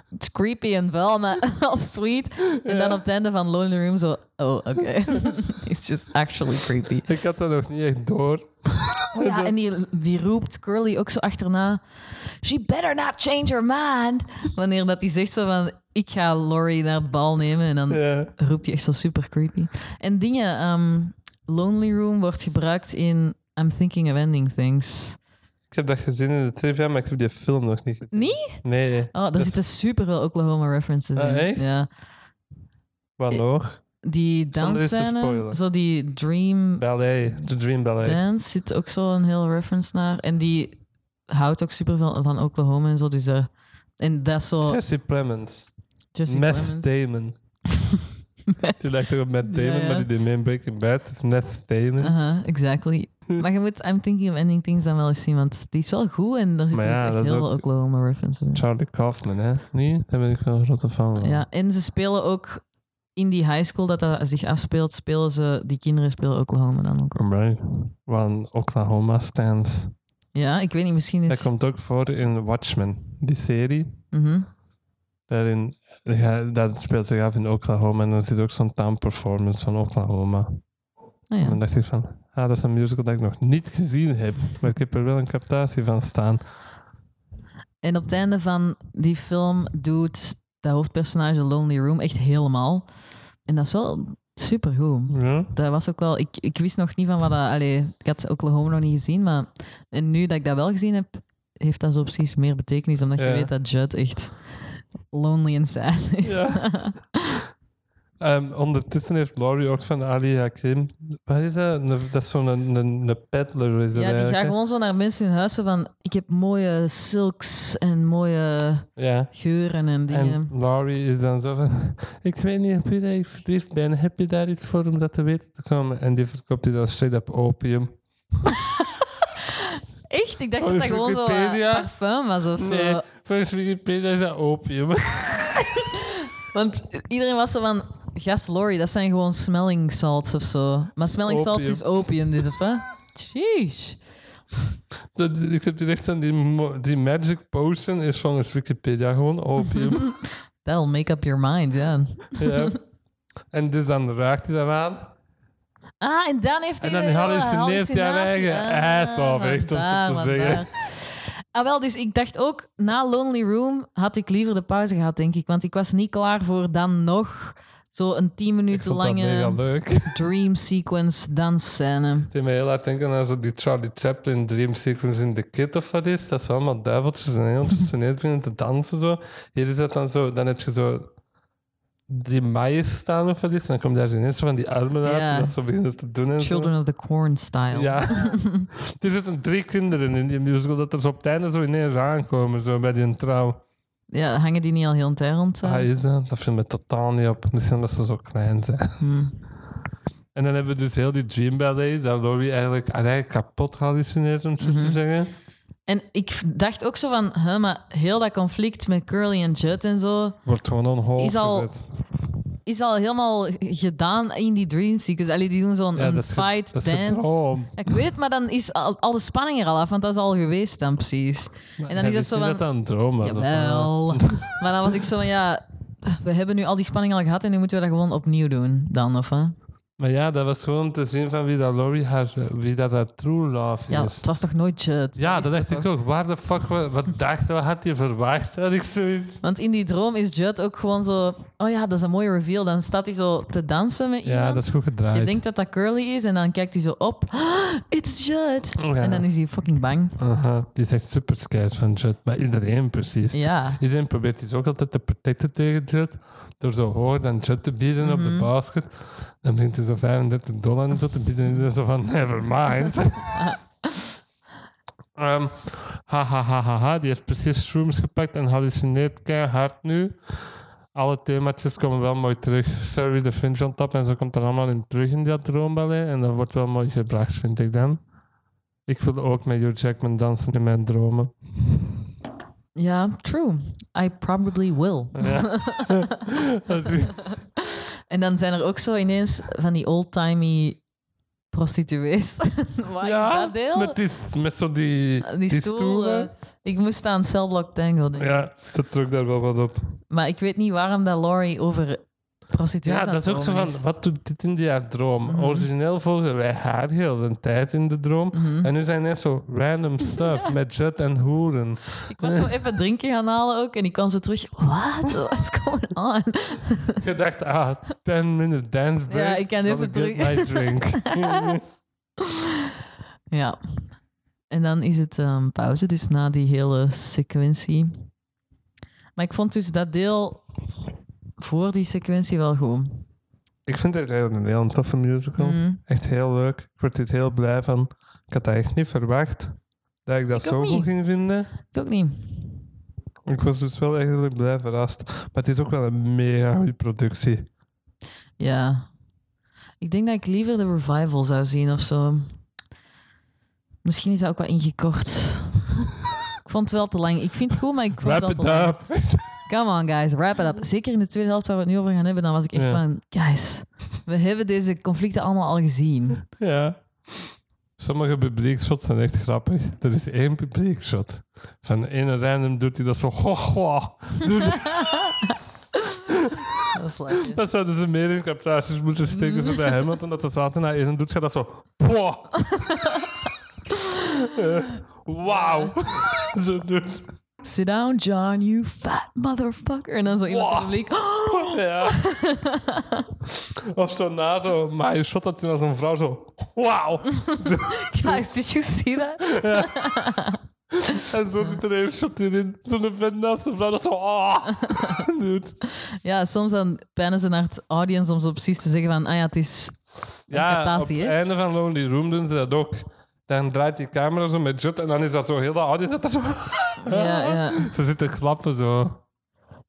Speaker 2: Het is creepy en vuil, maar [LAUGHS] al sweet. En dan op het einde van Lonely Room zo... Oh, oké. [LAUGHS] It's just actually creepy.
Speaker 1: Ik had dat nog niet echt door.
Speaker 2: Oh ja, en die, die roept Curly ook zo achterna. She better not change her mind. Wanneer dat hij zegt zo van, ik ga Laurie naar het bal nemen. En dan
Speaker 1: Ja.
Speaker 2: roept hij echt zo super creepy. En dingen, ehm, Lonely Room wordt gebruikt in I'm Thinking of Ending Things.
Speaker 1: Ik heb dat gezien in de trivia, maar ik heb die film nog niet gezien.
Speaker 2: Nee?
Speaker 1: Nee.
Speaker 2: Oh, daar
Speaker 1: Dus-
Speaker 2: zitten super veel Oklahoma references
Speaker 1: Ah,
Speaker 2: in.
Speaker 1: echt?
Speaker 2: Ja.
Speaker 1: Wat nog?
Speaker 2: Die
Speaker 1: Zonder iets te
Speaker 2: dansscène,
Speaker 1: spoilen.
Speaker 2: zo die dream
Speaker 1: Ballet. The Dream Ballet.
Speaker 2: dance, zit ook zo een heel reference naar. En die houdt ook super veel van Oklahoma en zo. Dus daar- en dat is
Speaker 1: [LAUGHS]
Speaker 2: zo...
Speaker 1: Jesse Plemons.
Speaker 2: Jesse
Speaker 1: Meth
Speaker 2: Plemons. [LAUGHS]
Speaker 1: Damon. Die lijkt toch op Matt Damon,
Speaker 2: Ja, Ah. ja.
Speaker 1: maar die deed mee in Breaking Bad. Het is Meth Damon.
Speaker 2: Aha, exactly.
Speaker 1: Hm.
Speaker 2: Maar je moet I'm Thinking of Ending Things dan wel eens zien, want die is wel goed en daar zitten
Speaker 1: Maar ja,
Speaker 2: dus
Speaker 1: dat
Speaker 2: echt
Speaker 1: is
Speaker 2: heel veel
Speaker 1: ook-
Speaker 2: Oklahoma references in.
Speaker 1: Charlie Kaufman, hè? Nee, daar ben ik wel een grote fan van.
Speaker 2: Ja, en ze spelen ook in die high school dat dat zich afspeelt, spelen ze, die kinderen spelen Oklahoma dan ook.
Speaker 1: Alright. Van Oklahoma Stands.
Speaker 2: Ja, ik weet niet, misschien is...
Speaker 1: Dat komt ook voor in Watchmen, die serie.
Speaker 2: Mhm.
Speaker 1: Daarin, ja, dat speelt zich af in Oklahoma en dan zit ook zo'n townperformance van Oklahoma.
Speaker 2: Ah,
Speaker 1: En dan
Speaker 2: ja.
Speaker 1: dacht ik van, ah, dat is een musical dat ik nog niet gezien heb. Maar ik heb er wel een captatie van staan.
Speaker 2: En op het einde van die film doet dat hoofdpersonage Lonely Room echt helemaal. En dat is wel supergoed.
Speaker 1: Ja?
Speaker 2: Dat was ook wel... Ik, ik wist nog niet van wat dat... Allee, ik had Oklahoma nog niet gezien, maar... En nu dat ik dat wel gezien heb, heeft dat zo precies meer betekenis. Omdat je
Speaker 1: Ja.
Speaker 2: weet dat Judd echt lonely en sad is. [LAUGHS]
Speaker 1: Ehm, ondertussen heeft Laurie ook van Ali Hakim. Wat is dat? Een- Dat is zo'n een, een, een peddler. Is dat
Speaker 2: Ja, die
Speaker 1: eigenlijk,
Speaker 2: gaan
Speaker 1: hè?
Speaker 2: gewoon zo naar mensen in huis zo van... Ik heb mooie silks en mooie
Speaker 1: Ja.
Speaker 2: geuren en dingen.
Speaker 1: En Laurie is dan zo van: [LAUGHS] Ik weet niet op wie dat ik verliefd ben. Heb je daar iets voor om dat te weten te komen? En die verkoopt hij dan straight up opium.
Speaker 2: Echt? Ik dacht
Speaker 1: Van
Speaker 2: dat dat gewoon zo eh,
Speaker 1: Oh, Wikipedia?
Speaker 2: parfum was of zo.
Speaker 1: Nee, volgens Wikipedia is dat opium. [LAUGHS]
Speaker 2: Want iedereen was zo van... Gast Lori, dat zijn gewoon smelling salts of zo. Maar smelling salts
Speaker 1: Opium.
Speaker 2: is opium, dus of hè? Jeez.
Speaker 1: Dat- ik heb direct aan die, mo- die magic potion is volgens Wikipedia gewoon
Speaker 2: Mhm.
Speaker 1: opium.
Speaker 2: That'll make up your mind, ja.
Speaker 1: ja. En dus dan raakt hij daaraan.
Speaker 2: Ah, en dan heeft hij
Speaker 1: En dan
Speaker 2: een hele
Speaker 1: hallucineert hij haar
Speaker 2: hallucinatie.
Speaker 1: eigen
Speaker 2: Ah,
Speaker 1: ass off, echt, om zo te
Speaker 2: vandaar,
Speaker 1: zeggen.
Speaker 2: vandaar. Ah, wel, dus ik dacht ook, na Lonely Room had ik liever de pauze gehad, denk ik. Want ik was niet klaar voor dan nog zo'n 10
Speaker 1: Ik
Speaker 2: minuten
Speaker 1: vond dat mega
Speaker 2: lange
Speaker 1: leuk.
Speaker 2: dream sequence dansscène.
Speaker 1: Die me heel hard denken aan zo die Charlie Chaplin dream sequence in The Kid of wat is. Dat ze allemaal
Speaker 2: [LAUGHS]
Speaker 1: duiveltjes en engeltjes ineens beginnen te dansen. Zo. Hier is dat dan zo, dan heb je zo die maaien staan of wat is. En dan komt daar zo ineens zo van die armen uit
Speaker 2: Ja.
Speaker 1: en dat ze beginnen te doen en zo.
Speaker 2: Children of the Corn style. [LAUGHS]
Speaker 1: Ja. [LAUGHS] er zitten drie kinderen in die musical dat er zo op het einde zo ineens aankomen, zo bij die trouw.
Speaker 2: Ja, hangen die niet al heel een tijd rond? eh?
Speaker 1: Ah, is dat? Dat viel me totaal niet op. Misschien omdat ze zo klein zijn.
Speaker 2: Hmm.
Speaker 1: En dan hebben we dus heel die Dream Ballet, dat Laurie eigenlijk, haar eigen kapot hallucineert, om het zo
Speaker 2: Mhm.
Speaker 1: te zeggen.
Speaker 2: En ik v- dacht ook zo van, huh, maar heel dat conflict met Curly en Judd en zo
Speaker 1: Wordt gewoon on hold
Speaker 2: Is al-
Speaker 1: gezet.
Speaker 2: is al helemaal g- gedaan in die dream sequence. Allee, die doen zo'n
Speaker 1: Ja,
Speaker 2: een
Speaker 1: dat is ge-
Speaker 2: fight,
Speaker 1: dat is
Speaker 2: dance.
Speaker 1: gedroomd.
Speaker 2: Ja, ik weet het, maar dan is al, al de spanning er al af, want dat is al geweest dan precies. en dan
Speaker 1: Hij
Speaker 2: is het
Speaker 1: wist
Speaker 2: zo
Speaker 1: niet
Speaker 2: van,
Speaker 1: dat dat een droom was. of wat. [LAUGHS]
Speaker 2: Jawel. maar dan was ik zo van, ja, we hebben nu al die spanning al gehad en nu moeten we dat gewoon opnieuw doen dan, of hè?
Speaker 1: Maar ja, dat was gewoon te zien van wie dat Laurie haar, wie dat haar true love
Speaker 2: Ja,
Speaker 1: is.
Speaker 2: het was toch nooit Judd?
Speaker 1: Ja, dat dacht ik ook. Waar de fuck, wa- wat dacht wat had hij verwacht? Had ik zoiets.
Speaker 2: Want in die droom is Judd ook gewoon zo, oh ja, dat is een mooie reveal. Dan staat hij zo te dansen met iemand.
Speaker 1: Ja, dat is goed gedraaid.
Speaker 2: Je denkt dat dat Curly is en dan kijkt hij zo op. Ah, it's Judd.
Speaker 1: Ja.
Speaker 2: En dan is hij fucking bang.
Speaker 1: Aha, die is echt super scared van Judd. Maar iedereen precies.
Speaker 2: Ja.
Speaker 1: Iedereen probeert zich ook altijd te protecten tegen Judd. Door zo hoog dan Judd te bieden op de basket. Dan begint hij zo 35 dollar en zo te bieden. En iedereen zo van, never mind. Ehm, ha, ha, ha, ha, ha. Die heeft precies shrooms gepakt en hallucineert keihard nu. Alle themaatjes komen wel mooi terug. Sorry, de Finch on top. En zo komt er allemaal in terug in dat droomballet. En dat wordt wel mooi gebracht, vind ik dan. Ik wil ook met Hugh Jackman dansen in mijn dromen.
Speaker 2: Ja, true. I probably will.
Speaker 1: [LAUGHS]
Speaker 2: En dan zijn er ook zo ineens van die old-timey prostituees. [LAUGHS] Waar ja, dat deel? Ah,
Speaker 1: met, die, met zo die,
Speaker 2: die, eh. stoelen. Ik moest aan Cellblock Tango denken.
Speaker 1: Ja, dat trok daar wel wat op.
Speaker 2: Maar ik weet niet waarom dat Laurie over prostituees
Speaker 1: Ja,
Speaker 2: aan
Speaker 1: dat is
Speaker 2: het
Speaker 1: ook zo
Speaker 2: komen
Speaker 1: van,
Speaker 2: is.
Speaker 1: wat doet dit in die haar droom?
Speaker 2: Mhm.
Speaker 1: Origineel volgen wij haar heel de tijd in de droom.
Speaker 2: Mhm.
Speaker 1: En nu zijn net zo random stuff met Jut en
Speaker 2: [LAUGHS]
Speaker 1: hoeren.
Speaker 2: Ik was zo even drinken gaan halen ook en ik kwam zo terug. What?
Speaker 1: [LAUGHS]
Speaker 2: What's going on?
Speaker 1: Je dacht, ah, 10 minute dance break.
Speaker 2: Ja, ik kan
Speaker 1: I'll
Speaker 2: even
Speaker 1: get
Speaker 2: terug-
Speaker 1: my
Speaker 2: [LAUGHS]
Speaker 1: drink. [LAUGHS]
Speaker 2: Ja. En dan is het ehm, pauze, dus na die hele sequentie. Maar ik vond dus dat deel voor die sequentie wel goed.
Speaker 1: ik vind het echt een heel toffe musical.
Speaker 2: Mm.
Speaker 1: Echt heel leuk. Ik word hier heel blij van. Ik had dat echt niet verwacht. Dat ik dat
Speaker 2: Ik ook
Speaker 1: zo
Speaker 2: niet.
Speaker 1: goed ging vinden.
Speaker 2: Ik ook niet.
Speaker 1: Ik was dus wel echt heel blij verrast. Maar het is ook wel een mega goede productie.
Speaker 2: Ja. Ik denk dat ik liever de revival zou zien of zo. Misschien is dat ook wel
Speaker 1: [LAUGHS]
Speaker 2: ingekort. ik vond het wel te lang. Ik vind het goed, maar ik vond het
Speaker 1: Wrap
Speaker 2: wel te
Speaker 1: it
Speaker 2: lang.
Speaker 1: up.
Speaker 2: Come on, guys, wrap it up. Zeker in de tweede helft waar we het nu over gaan hebben, dan was ik echt
Speaker 1: Ja.
Speaker 2: van... Guys, we hebben deze conflicten allemaal al gezien.
Speaker 1: [LAUGHS] Ja. Sommige publiekshots zijn echt grappig. Er is één publiekshot. Van ene random doet hij dat zo. Ho,
Speaker 2: [LAUGHS]
Speaker 1: ho. Doet-
Speaker 2: Dat is leuk.
Speaker 1: dat zouden ze meer in captages moeten steken. Zo bij Hamilton, dat de zaten naar één doet, gaat dat zo.
Speaker 2: [LAUGHS]
Speaker 1: Ho. Eh,
Speaker 2: [LAUGHS]
Speaker 1: Wauw. zo doet.
Speaker 2: Sit down, John, you fat motherfucker. En dan zo iemand in
Speaker 1: Wow.
Speaker 2: het publiek. "Oh, [LAUGHS]
Speaker 1: Ja. Of zo na zo. Maar je shot dat hij als een vrouw zo. Wauw.
Speaker 2: Guys, did you see that?
Speaker 1: [LAUGHS] En zo zit er een shot in. Zo'n vent naast zijn vrouw dat zo... Ah, [LAUGHS] doet.
Speaker 2: Ja, soms dan pennen ze naar het audience om zo precies te zeggen van... Ah ja, het is...
Speaker 1: Ja, op het
Speaker 2: Interpretatie, hè?
Speaker 1: einde van Lonely Room doen ze dat ook. Dan draait die camera zo met Jut en dan is dat zo heel dat audience. Dat er zo,
Speaker 2: Ja, ja.
Speaker 1: [LAUGHS] ze zitten klappen zo.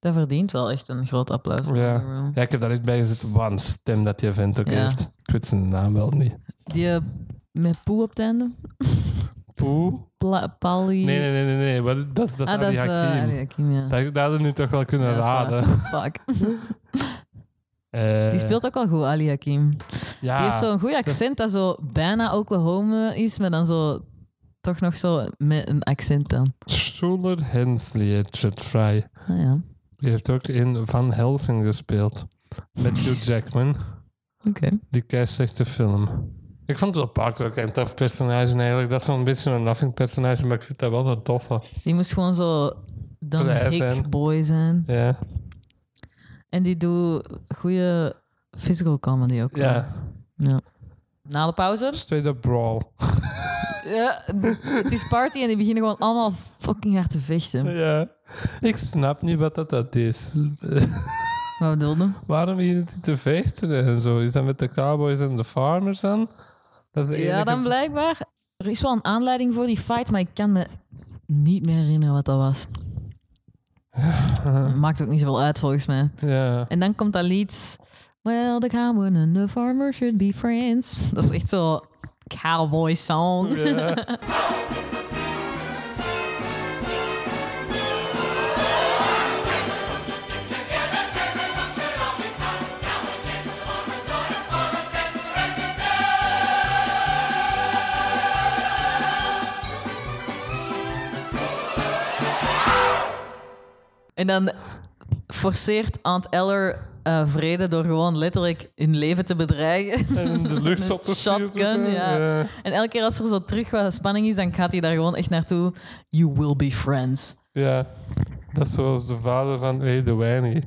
Speaker 2: Dat verdient wel echt een groot applaus.
Speaker 1: Ja. ja, ik heb daar echt bij gezet. Wat een stem dat die vent ook
Speaker 2: Ja.
Speaker 1: heeft. Ik weet zijn naam wel niet.
Speaker 2: Die eh, met poe op het einde.
Speaker 1: Poe?
Speaker 2: Pla- Pali...
Speaker 1: Nee, nee, nee, nee. nee. Wat, dat, is- dat is
Speaker 2: Ah,
Speaker 1: ah,
Speaker 2: dat is eh,
Speaker 1: Hakim.
Speaker 2: Ali Hakim, ja.
Speaker 1: Dat, dat hadden we nu toch wel kunnen
Speaker 2: Ja, dat is
Speaker 1: raden.
Speaker 2: waar. Fuck.
Speaker 1: Eh, Ah.
Speaker 2: Die speelt ook wel goed, Ali Hakim.
Speaker 1: ja.
Speaker 2: Die heeft zo'n goed accent dat zo bijna Oklahoma is, maar dan zo toch nog zo met een accent dan.
Speaker 1: Schuler Hensley heet Jut Fry.
Speaker 2: Ah, ja. Oké.
Speaker 1: Die heeft ook in Van Helsing gespeeld. Met Hugh Jackman. Die keislechte film. Ik vond het wel Parker ook een tof personage eigenlijk. Dat is zo'n beetje een laughing personage, maar ik vind dat wel een toffe.
Speaker 2: Die moest gewoon zo dan
Speaker 1: Blij
Speaker 2: hick
Speaker 1: zijn.
Speaker 2: boy zijn.
Speaker 1: Ja.
Speaker 2: En die doet goede physical comedy ook. wel.
Speaker 1: Ja.
Speaker 2: Ja. Na de pauze.
Speaker 1: Straight up [LAUGHS] brawl.
Speaker 2: Ja, het is party en die beginnen gewoon allemaal fucking hard te vechten.
Speaker 1: Ja. Ik snap niet wat dat, dat is.
Speaker 2: Wat bedoelde? hem?
Speaker 1: [LAUGHS] Waarom hier niet te vechten en zo? Is dat met de cowboys en de farmers dan? Dat is de
Speaker 2: Ja,
Speaker 1: enige-
Speaker 2: dan blijkbaar. Er is wel een aanleiding voor die fight, maar ik kan me niet meer herinneren wat dat
Speaker 1: [LAUGHS]
Speaker 2: was. Maakt ook niet zoveel uit volgens mij. [LAUGHS]
Speaker 1: Ja.
Speaker 2: En dan komt dat lied. Well, the cowboy and the farmer should be friends. [LAUGHS] Dat is echt zo'n cowboy song. En dan forceert Aunt Eller eh, vrede door gewoon letterlijk hun leven te bedreigen. [LAUGHS]
Speaker 1: En in de lucht op te
Speaker 2: Met shotgun,
Speaker 1: schieten,
Speaker 2: ja.
Speaker 1: ja.
Speaker 2: En elke keer als er zo terug wat spanning is, dan gaat hij daar gewoon echt naartoe. You will be friends.
Speaker 1: Ja. Dat is zoals de vader van hey, de Wijnie. Met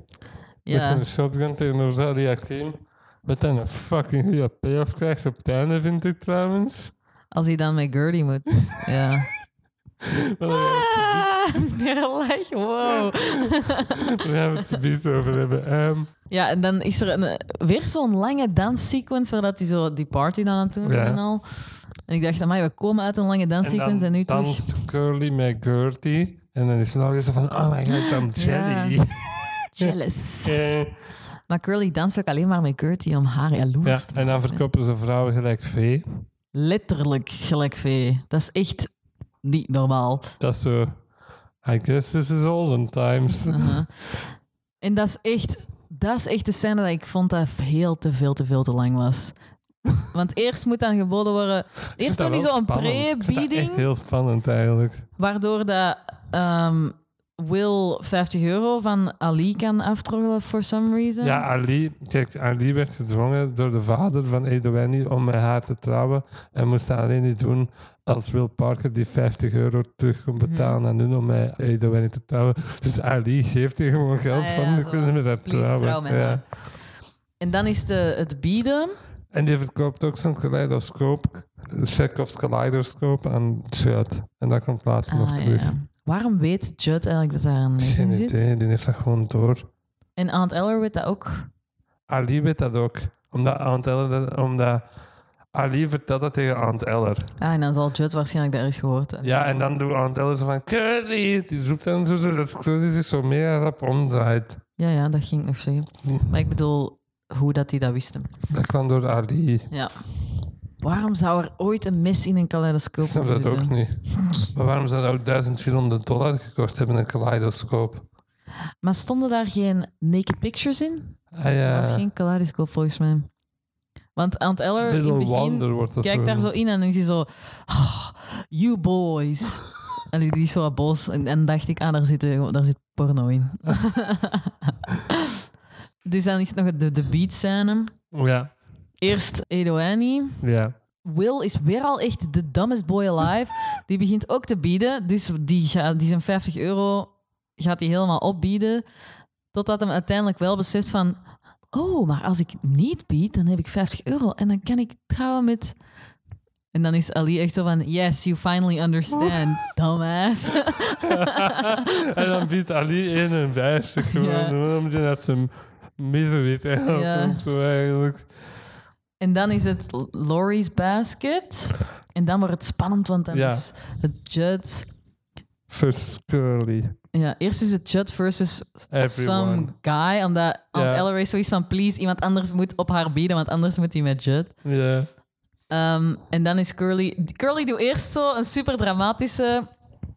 Speaker 2: Ja,
Speaker 1: zijn shotgun tegenover Zadia Kim. Wat dan een fucking goede payoff krijgt op het einde, vind ik
Speaker 2: [LAUGHS]
Speaker 1: trouwens.
Speaker 2: als hij dan met Gertie
Speaker 1: [LAUGHS]
Speaker 2: moet. ja.
Speaker 1: Maar daar gaan we het-
Speaker 2: Ah, ja, lach, wow.
Speaker 1: daar gaan we het niet over hebben. Ehm,
Speaker 2: Ja, en dan is er een, eh, weer zo'n lange danssequence waar dat die, zo die party dan aan het doen
Speaker 1: Ja.
Speaker 2: zijn en al. En ik dacht, amai, we komen uit een lange
Speaker 1: dan
Speaker 2: danssequence en, nu terug.
Speaker 1: danst Curly met Gertie. En dan is het nou weer zo van, oh my god, I'm
Speaker 2: Ja. [LAUGHS]
Speaker 1: jelly.
Speaker 2: Jealous.
Speaker 1: Eh,
Speaker 2: Maar Curly danst ook alleen maar met Gertie om haar jaloers
Speaker 1: ja,
Speaker 2: te
Speaker 1: en dan
Speaker 2: maken.
Speaker 1: verkopen ze vrouwen gelijk vee.
Speaker 2: Letterlijk gelijk vee. Dat is echt niet normaal.
Speaker 1: Dat is zo, I guess this is olden times.
Speaker 2: Uh-huh. En dat is echt... Dat is echt de scène dat ik vond dat heel te veel, te veel te lang was. Want eerst moet dan geboden worden... Eerst
Speaker 1: Dat
Speaker 2: doen die
Speaker 1: wel
Speaker 2: zo'n
Speaker 1: spannend. Ik vind dat
Speaker 2: pre-bieding.
Speaker 1: echt heel spannend eigenlijk.
Speaker 2: Waardoor dat ehm, Will 50 euro van Ali kan aftroggelen for some reason.
Speaker 1: Ja, Ali, kijk, Ali werd gedwongen door de vader van Edouani om met haar te trouwen. En moest dat alleen niet doen als Will Parker die 50 euro terug
Speaker 2: Mhm.
Speaker 1: kon betalen aan hun om met Edouani te trouwen. Dus Ali geeft hier gewoon geld
Speaker 2: Ah, ja,
Speaker 1: van, ik
Speaker 2: zo,
Speaker 1: wil met haar
Speaker 2: please,
Speaker 1: trouwen.
Speaker 2: trouw met
Speaker 1: Ja.
Speaker 2: haar. En dan is de, het bieden.
Speaker 1: En die verkoopt ook zo'n kaleidoscoop, Chekhov's kaleidoscoop aan Judd. En dat komt later nog
Speaker 2: Ah,
Speaker 1: terug.
Speaker 2: ja. Waarom weet Judd eigenlijk dat daar een les
Speaker 1: Geen
Speaker 2: in zit?
Speaker 1: idee, die heeft dat gewoon door.
Speaker 2: En Aunt Eller weet dat ook.
Speaker 1: Ali weet dat ook, omdat, Aunt Eller, omdat Ali vertelt dat tegen Aunt Eller.
Speaker 2: Ah, en dan zal Judd waarschijnlijk daar eens gehoord hebben.
Speaker 1: Ja, en dan doet Aunt Ellen zo van Curly. Die roept dan zo dat Curly zich zo meer rap omdraait.
Speaker 2: ja, ja, dat ging ik nog zeggen. Maar ik bedoel, hoe dat hij dat wist. hem.
Speaker 1: Dat kwam door Ali.
Speaker 2: Ja. Waarom zou er ooit een mes in een kaleidoscoop
Speaker 1: Ik snap
Speaker 2: zitten?
Speaker 1: dat ook niet. Maar waarom zou dat ook 1400 dollar gekocht hebben, een kaleidoscoop?
Speaker 2: Maar stonden daar geen naked pictures in?
Speaker 1: Ah
Speaker 2: Dat was
Speaker 1: ja,
Speaker 2: geen kaleidoscoop volgens mij. Want Ant Eller in het
Speaker 1: Little
Speaker 2: begin
Speaker 1: Wonder wordt dat
Speaker 2: kijkt daar zo in en is hij zo... "Ah, you boys. en die die is zo wat boos. En, en dacht ik, ah, daar zit, eh, daar zit porno in. [LAUGHS] dus dan is het nog de, de beat scène.
Speaker 1: Ja,
Speaker 2: Eerst Edoani.
Speaker 1: ja.
Speaker 2: Will is weer al echt de dumbest boy alive. Die begint ook te bieden. Dus die, gaat, die zijn 50 euro gaat hij helemaal opbieden. Totdat hem uiteindelijk wel beseft van... Oh, maar als ik niet bied, dan heb ik 50 euro. En dan kan ik trouwen met... En dan is Ali echt zo van... Yes, you finally understand, dumbass.
Speaker 1: [LAUGHS] En dan biedt Ali
Speaker 2: [LAUGHS]
Speaker 1: 51 gewoon.
Speaker 2: Ja.
Speaker 1: Om die net zijn misery te helpen
Speaker 2: Ja.
Speaker 1: of zo eigenlijk.
Speaker 2: en dan is het Laurie's basket. En dan wordt het spannend, want dan
Speaker 1: Ja.
Speaker 2: is het Judd...
Speaker 1: First Curly.
Speaker 2: Ja, eerst is het Judd versus
Speaker 1: Everyone.
Speaker 2: some guy. Omdat Aunt
Speaker 1: Ja.
Speaker 2: Ellery zoiets van... Please, iemand anders moet op haar bieden, want anders moet hij met Judd.
Speaker 1: Ja.
Speaker 2: Ehm, en dan is Curly... Curly doet eerst zo een super dramatische...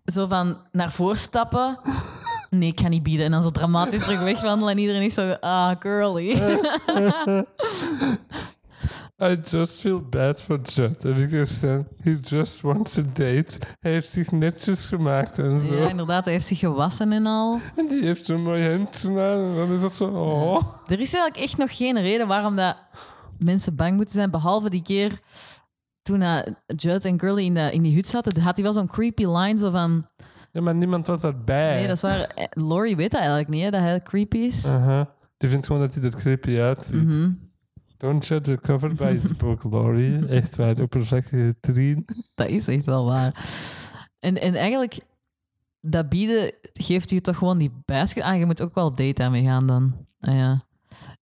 Speaker 2: Zo van naar voren stappen. Nee, ik ga niet bieden. En dan zo dramatisch terug wegwandelen. En iedereen is zo... Ah, Curly.
Speaker 1: I just feel bad for Judd. En ik heb gezegd, he just wants a date. Hij heeft zich netjes gemaakt en zo.
Speaker 2: ja, inderdaad. Hij heeft zich gewassen en al.
Speaker 1: En [LAUGHS] die heeft zo'n mooi hemdje aan. En dan is dat zo, oh.
Speaker 2: Er is eigenlijk echt nog geen reden waarom dat mensen bang moeten zijn. Behalve die keer toen eh, Judd en Curly in, de, in die hut zaten. Had hij wel zo'n creepy line zo van...
Speaker 1: Ja, maar niemand was daarbij.
Speaker 2: Nee, dat is waar. Eh, Laurie weet dat eigenlijk niet, hè, dat hij creepy is.
Speaker 1: Aha. Die vindt gewoon dat hij er creepy uitziet.
Speaker 2: Mhm.
Speaker 1: Don't judge a cover by
Speaker 2: [LAUGHS]
Speaker 1: its book, Laurie. Echt waar, de oppervlakkige trien.
Speaker 2: Dat is echt wel waar. En, en eigenlijk, dat bieden geeft u toch gewoon die basket aan. Je moet ook wel date daarmee gaan dan. Ah, ja.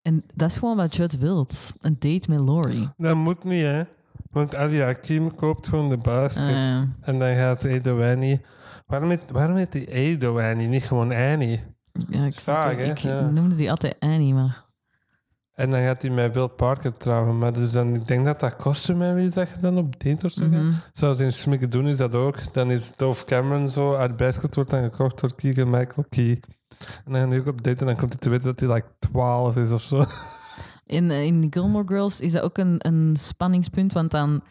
Speaker 2: En dat is gewoon wat Judd wilt. Een date met Lori.
Speaker 1: Dat moet niet, hè. Want Ali Hakim koopt gewoon de basket.
Speaker 2: Ah, ja.
Speaker 1: En dan gaat Edo Annie... Waarom heet, waarom heet die Edo Annie, niet gewoon Annie?
Speaker 2: Ja, ik, snap
Speaker 1: Vaag,
Speaker 2: het
Speaker 1: hè?
Speaker 2: ook. ik
Speaker 1: Ja.
Speaker 2: noemde die altijd Annie, maar...
Speaker 1: En dan gaat hij met Bill Parker trouwen. Maar dus dan, ik denk dat dat customary is dat je dan op date of zo gaat.
Speaker 2: Mhm.
Speaker 1: Zoals in Schmikke doen is dat ook. Dan is Dove Cameron zo uit basket wordt dan gekocht door Keegan Michael Key. En dan gaan die ook op date en dan komt hij te weten dat hij like 12 is of zo. [LAUGHS]
Speaker 2: In, eh, in Gilmore Girls is dat ook een, een spanningspunt, want dan...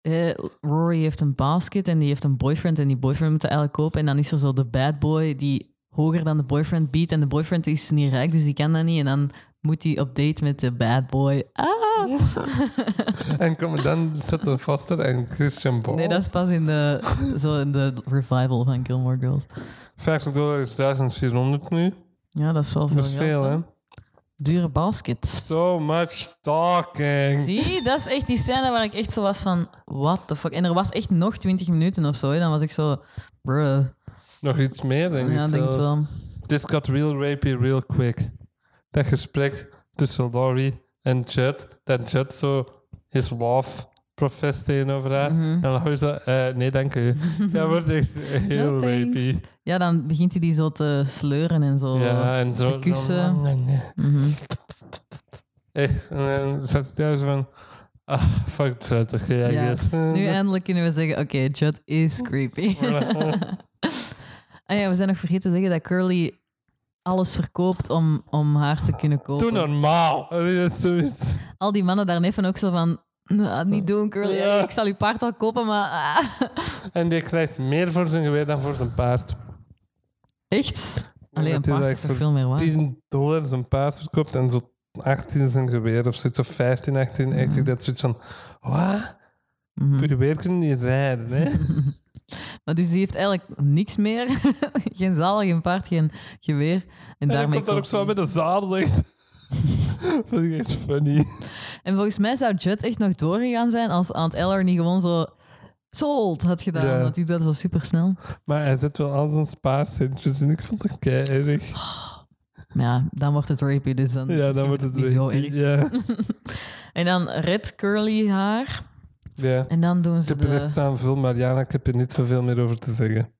Speaker 2: eh, Rory heeft een basket en die heeft een boyfriend en die boyfriend moet dat eigenlijk kopen. En dan is er zo de bad boy die hoger dan de boyfriend biedt en de boyfriend is niet rijk, dus die kan dat niet. En dan moet hij op date met de bad boy. Ah!
Speaker 1: en komen dan Sutton Foster en Christian Ball.
Speaker 2: Nee, dat is pas in de, zo in de revival van Gilmore Girls.
Speaker 1: 50 dollar is 1400 nu.
Speaker 2: Oh, Ja, dat is wel veel
Speaker 1: Dat is
Speaker 2: geld,
Speaker 1: veel, hè?
Speaker 2: Dure baskets.
Speaker 1: So much talking.
Speaker 2: Zie, dat is echt die scène waar ik echt zo was van... What the fuck? En er was echt nog 20 minuten of zo. hè. Dan was ik zo... Bruh.
Speaker 1: Nog iets meer, denk ik.
Speaker 2: Oh, ja, denk het
Speaker 1: zelfs.
Speaker 2: wel.
Speaker 1: This got real rapey real quick. Dat gesprek tussen Laurie en Chad. Dat Chad zo his love professed tegenover haar.
Speaker 2: Mhm.
Speaker 1: En Laurie zo, eh, nee dank
Speaker 2: [LAUGHS]
Speaker 1: u. Dat wordt echt heel
Speaker 2: No, thanks.
Speaker 1: rapey.
Speaker 2: Ja, dan begint hij die zo te sleuren en zo.
Speaker 1: Ja, en zo.
Speaker 2: te kussen.
Speaker 1: zo- nee, nee.
Speaker 2: Mhm.
Speaker 1: Echt. En dan zat hij daar zo van, ah, fuck Chad, oké, I
Speaker 2: Ja,
Speaker 1: guess.
Speaker 2: Nu eindelijk kunnen we zeggen, oké, Judd is creepy. [LAUGHS] ah ja, we zijn nog vergeten te zeggen dat Curly alles verkoopt om, om haar te kunnen kopen.
Speaker 1: Doe normaal. [LAUGHS] Dat is zoiets.
Speaker 2: Al die mannen daarneven ook zo van... "Nou, niet doen, Curly.
Speaker 1: Ja.
Speaker 2: Ik zal uw paard wel kopen, maar... ah."
Speaker 1: En die krijgt meer voor zijn geweer dan voor zijn paard.
Speaker 2: Echt? Alleen een
Speaker 1: Dat is
Speaker 2: paard is
Speaker 1: echt
Speaker 2: toch
Speaker 1: voor
Speaker 2: veel meer waard?
Speaker 1: 10 dollar zijn paard verkoopt en zo 18 zijn geweer of zoiets, of 15, 18, 80, dat is zoiets van, wat?
Speaker 2: Mhm.
Speaker 1: Geweer kunnen niet rijden,
Speaker 2: [LAUGHS]
Speaker 1: hè?
Speaker 2: Maar dus die heeft eigenlijk niks meer. [LAUGHS] geen zadel, geen paard, geen geweer. En,
Speaker 1: en dan
Speaker 2: daarmee
Speaker 1: komt dan ook
Speaker 2: koopt
Speaker 1: zo
Speaker 2: hij.
Speaker 1: met een zadel
Speaker 2: [LAUGHS]
Speaker 1: echt. Vond ik echt funny.
Speaker 2: En volgens mij zou Judd echt nog doorgegaan zijn als Aunt Eller niet gewoon zo sold had gedaan.
Speaker 1: Ja.
Speaker 2: Want die doet dat zo supersnel.
Speaker 1: Maar hij zet wel al zijn spaarcentjes en ik vond dat kei
Speaker 2: Oh,
Speaker 1: erg.
Speaker 2: Maar ja, dan wordt het rapey, dus dan,
Speaker 1: Ja, dan
Speaker 2: misschien
Speaker 1: wordt het
Speaker 2: niet zo
Speaker 1: echt-
Speaker 2: erg.
Speaker 1: Ja,
Speaker 2: En dan red curly haar. [LAUGHS]
Speaker 1: ja.
Speaker 2: En dan doen
Speaker 1: Ik
Speaker 2: ze
Speaker 1: heb er echt
Speaker 2: de...
Speaker 1: staan veel, Mariana, ik heb er niet zoveel meer over te zeggen.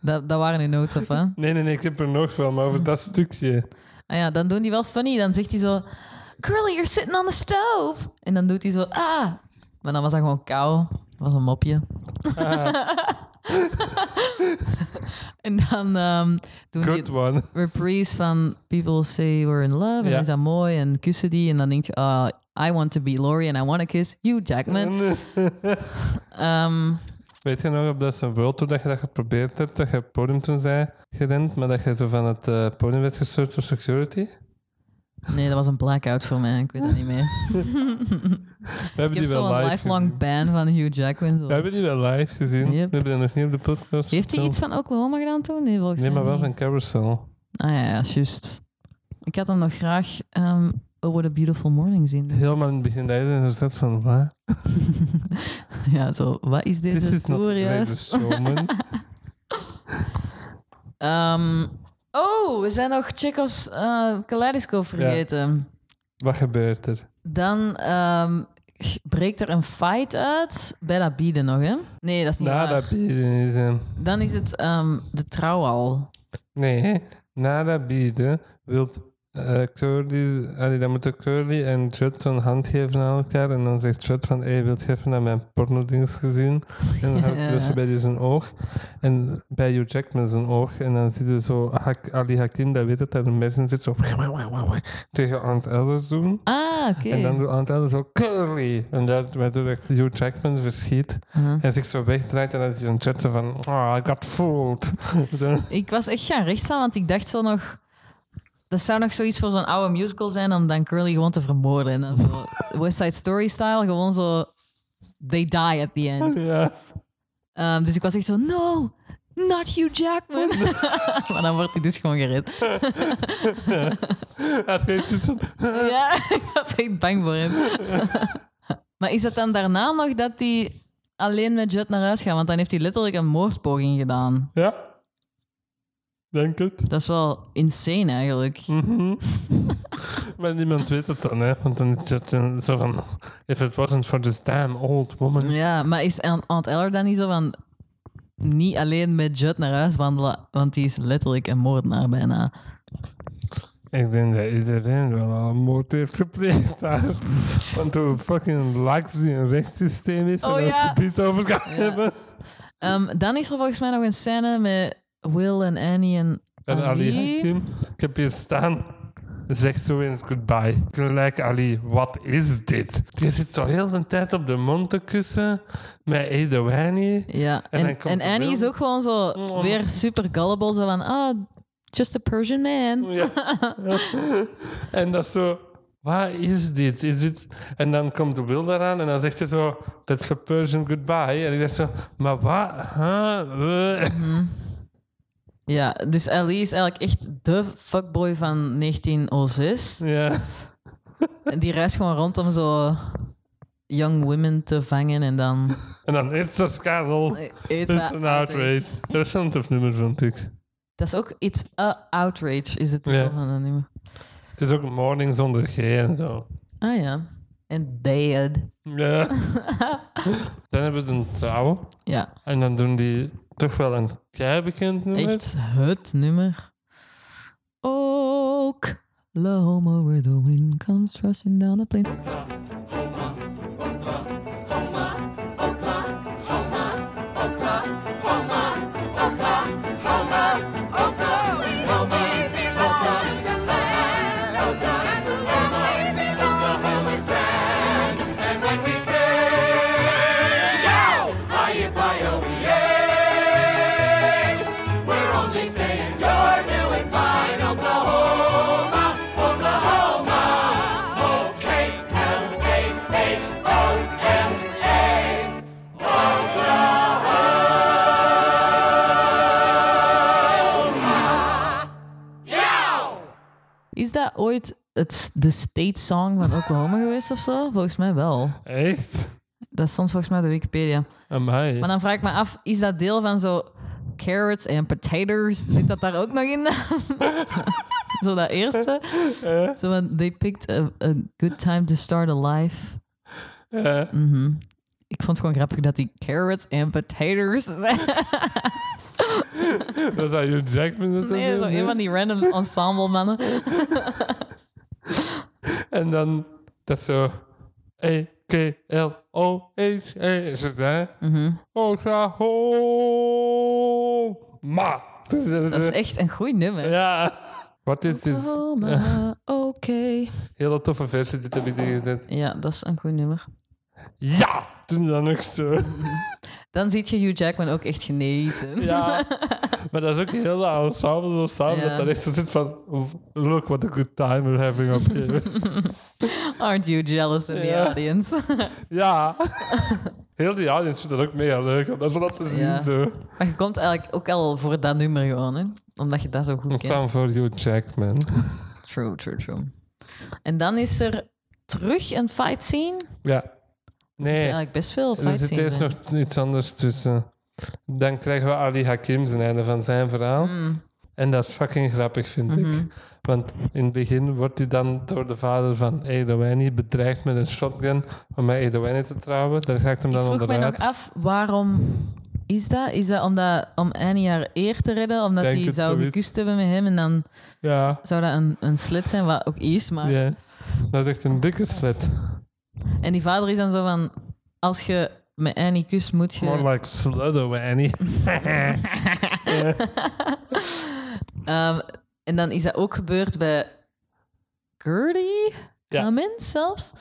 Speaker 2: Dat, dat waren uw notes op, hè?
Speaker 1: Nee, nee, nee, ik heb er nog wel, maar over dat stukje.
Speaker 2: Ah ja, dan doen die wel funny. Dan zegt hij zo... Curly, you're sitting on the stove. En dan doet hij zo... Ah. Maar dan was dat gewoon kou. Dat was een mopje.
Speaker 1: Ah.
Speaker 2: [LAUGHS] en dan ehm, doen die
Speaker 1: Good one.
Speaker 2: reprise van People Say We're In Love. En
Speaker 1: Ja.
Speaker 2: dan is dat mooi. En kussen die. En dan denk je... ah, I want to be Laurie and I want to kiss you, Jackman.
Speaker 1: [LAUGHS]
Speaker 2: Ehm,
Speaker 1: Weet je nog op dat zijn World Tour dat je dat geprobeerd hebt, dat je het podium toen zei gerend, maar dat je zo van het eh, podium werd gestuurd door security?
Speaker 2: [LAUGHS] nee, dat was een blackout voor mij. Ik weet het niet meer. [LAUGHS]
Speaker 1: We hebben
Speaker 2: Ik
Speaker 1: die
Speaker 2: heb
Speaker 1: wel
Speaker 2: zo'n
Speaker 1: live
Speaker 2: lifelong
Speaker 1: gezien.
Speaker 2: ban van Hugh Jackman.
Speaker 1: We
Speaker 2: Zo.
Speaker 1: hebben die wel live gezien.
Speaker 2: Yep.
Speaker 1: We hebben dat nog niet op de podcast.
Speaker 2: Heeft hij
Speaker 1: verteld.
Speaker 2: iets van Oklahoma gedaan toen? Nee, volgens
Speaker 1: Nee,
Speaker 2: mij
Speaker 1: maar wel
Speaker 2: niet.
Speaker 1: van Carousel.
Speaker 2: Ah ja, ja, juist. Ik had hem nog graag ehm, Oh What a Beautiful
Speaker 1: [LAUGHS]
Speaker 2: Morning zien. [LAUGHS]
Speaker 1: Helemaal in het begin dat je er zat van, wat?
Speaker 2: ja, zo, wat is deze
Speaker 1: This is not
Speaker 2: tour juist?
Speaker 1: Greatest
Speaker 2: [LAUGHS]
Speaker 1: Showman.
Speaker 2: Ehm, oh, we zijn nog Chekhov's eh Kaleidoscope vergeten.
Speaker 1: wat gebeurt er?
Speaker 2: Dan ehm, breekt er een fight uit bij dat bieden nog, hè? Nee, dat is niet
Speaker 1: Na
Speaker 2: waar.
Speaker 1: dat bieden is eh, hem.
Speaker 2: Dan is het ehm, de trouw al.
Speaker 1: Nee, hè. na dat bieden wilt eh, Curly, allee, dan moeten Curly en Judd zo'n hand geven aan elkaar. En dan zegt Judd van, hey, wilt je even naar mijn pornodings gezien? En
Speaker 2: [LAUGHS]
Speaker 1: dan houdt hij dus bij die zijn oog. En bij Hugh Jackman zijn oog. En dan zie je zo Hak- Ali Hakim, dat weet het, daar een mes in zit. Zo tegen Aunt Ellis doen.
Speaker 2: Ah, oké.
Speaker 1: En dan doet Aunt Ellis zo Curly. En dat- waardoor Hugh Jackman verschiet.
Speaker 2: Uh-huh.
Speaker 1: En zich zo wegdraait. En dan is hij een Judd zo van, oh, I got
Speaker 2: [LAUGHS]
Speaker 1: fooled. [LAUGHS] Dan-
Speaker 2: Ik was echt gaan rechtstaan, want ik dacht zo nog... Dat zou nog zoiets voor zo'n oude musical zijn om dan Curly gewoon te vermoorden. En dan zo West Side Story style, gewoon zo... They die at the end.
Speaker 1: ja.
Speaker 2: Ehm, dus ik was echt zo, no, not Hugh Jackman. [LAUGHS] maar dan wordt hij dus gewoon gered.
Speaker 1: Het heeft iets van,
Speaker 2: ja, [LAUGHS] ik was echt bang voor hem. maar is het dan daarna nog dat hij alleen met Judd naar huis gaat? Want dan heeft hij letterlijk een moordpoging gedaan.
Speaker 1: Ja. Denk het.
Speaker 2: Dat is wel insane eigenlijk.
Speaker 1: Mhm. maar niemand weet het dan, hè? Want dan is het eh, zo van: If it wasn't for this damn old woman.
Speaker 2: Ja, maar is Aunt Aunt Eller dan niet zo van... Niet alleen met Judd naar huis wandelen, want die is letterlijk een moordenaar bijna.
Speaker 1: Ik denk dat iedereen wel al een moord heeft gepleegd daar. Want hoe fucking lax die een rechtssysteem is.
Speaker 2: Oh,
Speaker 1: en
Speaker 2: ja.
Speaker 1: het gebied over gaan hebben.
Speaker 2: Ehm, dan is er volgens mij nog een scène met Will en Annie en
Speaker 1: En Ali
Speaker 2: Ali.
Speaker 1: Hakim, ik heb hier staan. Zeg zo eens goodbye. Gelijk Ali, wat is dit? Je zit zo heel de tijd op de mond te kussen met Edouani.
Speaker 2: Ja,
Speaker 1: En
Speaker 2: en,
Speaker 1: dan
Speaker 2: en,
Speaker 1: komt de
Speaker 2: Annie is
Speaker 1: Will.
Speaker 2: ook gewoon zo
Speaker 1: Oh.
Speaker 2: weer super gullible. Zo van, ah, just a Persian man.
Speaker 1: Ja. [LAUGHS] en dat is zo, wat is dit? Is dit? En dan komt Will eraan en dan zegt ze zo, that's a Persian goodbye. En ik dacht zo, maar wat? Huh? [LAUGHS] Eh.
Speaker 2: Ja, dus Ali is eigenlijk echt de fuckboy van 1906.
Speaker 1: ja.
Speaker 2: En die reist gewoon rond om zo young women te vangen en
Speaker 1: [LAUGHS]
Speaker 2: dan...
Speaker 1: En dan, it's a scandal.
Speaker 2: It's
Speaker 1: It's
Speaker 2: a
Speaker 1: an outrage. Dat is een tof nummer, vond ik.
Speaker 2: Dat is ook It's a Outrage, is het
Speaker 1: Ja.
Speaker 2: titel van dat nummer.
Speaker 1: Het is ook morning zonder G en zo.
Speaker 2: Ah ja. En Bad. [LAUGHS]
Speaker 1: Ja. [LAUGHS] dan hebben we een trouw.
Speaker 2: Ja,
Speaker 1: En dan doen die toch wel een kei bekend nummer.
Speaker 2: echt het nummer. Ook. Oklahoma, where the wind comes rushing down the plain. Is dat ooit het, s- de state song van Oklahoma geweest of zo? Volgens mij wel.
Speaker 1: Echt?
Speaker 2: Dat stond volgens mij op de Wikipedia.
Speaker 1: Amai.
Speaker 2: Maar dan vraag ik me af, is dat deel van zo carrots en potatoes? Zit dat daar ook nog in? [LAUGHS] zo dat eerste.
Speaker 1: Eh?
Speaker 2: Zo van, they picked a, a good time to start a life.
Speaker 1: Ja.
Speaker 2: Mhm. Ik vond het gewoon grappig dat die carrots en potatoes [LAUGHS] zijn.
Speaker 1: Was dat Hugh Jackman? dat
Speaker 2: nee,
Speaker 1: dat
Speaker 2: zo
Speaker 1: deed?
Speaker 2: een van die random ensemble mannen.
Speaker 1: En dan dat zo... E E-K-L-O-H-E. E Is het, hè?
Speaker 2: Mhm.
Speaker 1: Oklahoma.
Speaker 2: Dat is echt een goed nummer.
Speaker 1: Ja. Wat is dit?
Speaker 2: Oklahoma, oké.
Speaker 1: Hele toffe versie, dit heb ik hier gezet.
Speaker 2: Ja, dat is een goed nummer.
Speaker 1: Ja! Toen dan ook zo.
Speaker 2: Dan ziet je Hugh Jackman ook echt geneten.
Speaker 1: Ja. [LAUGHS] maar dat is ook heel ensemble zo samen.
Speaker 2: Ja.
Speaker 1: Dat er echt zo zit van... Look what a good time we're having up here.
Speaker 2: [LAUGHS] [LAUGHS] Aren't you jealous in the
Speaker 1: Ja.
Speaker 2: audience? [LAUGHS]
Speaker 1: ja. Heel die audience vindt dat ook mega leuk om dat zo te zien.
Speaker 2: Ja.
Speaker 1: Zo.
Speaker 2: maar je komt eigenlijk ook al voor dat nummer gewoon, hè? Omdat je dat zo goed
Speaker 1: Ik
Speaker 2: kent.
Speaker 1: kwam voor Hugh Jackman.
Speaker 2: True, true, true. En dan is er terug een fight scene.
Speaker 1: Ja.
Speaker 2: Er zitten
Speaker 1: Nee,
Speaker 2: eigenlijk eh? best veel
Speaker 1: er
Speaker 2: fight
Speaker 1: zit
Speaker 2: scenes
Speaker 1: eerst
Speaker 2: in.
Speaker 1: nog iets anders tussen. Dan krijgen we Ali Hakim zijn einde van zijn verhaal.
Speaker 2: Mm,
Speaker 1: En dat is fucking grappig, vind
Speaker 2: Mhm.
Speaker 1: ik. Want in het begin wordt hij dan door de vader van Edouani bedreigd met een shotgun om met Edouani te trouwen. Daar ga ik hem
Speaker 2: Ik
Speaker 1: dan
Speaker 2: vroeg mij nog
Speaker 1: onderuit.
Speaker 2: af, waarom is dat? Is dat omdat, om Annie haar eer te redden? Omdat
Speaker 1: Denk
Speaker 2: hij
Speaker 1: het
Speaker 2: zou
Speaker 1: zoiets.
Speaker 2: gekust hebben met hem en dan
Speaker 1: Ja,
Speaker 2: zou dat een, een slit zijn, wat ook is. Maar...
Speaker 1: ja. Dat is echt een dikke slet.
Speaker 2: En die vader is dan zo van, als je met Annie kust, moet je...
Speaker 1: More like
Speaker 2: [LAUGHS]
Speaker 1: Sludowani.
Speaker 2: Ehm, en dan is dat ook gebeurd bij Gertie
Speaker 1: Ja.
Speaker 2: Cummins zelfs.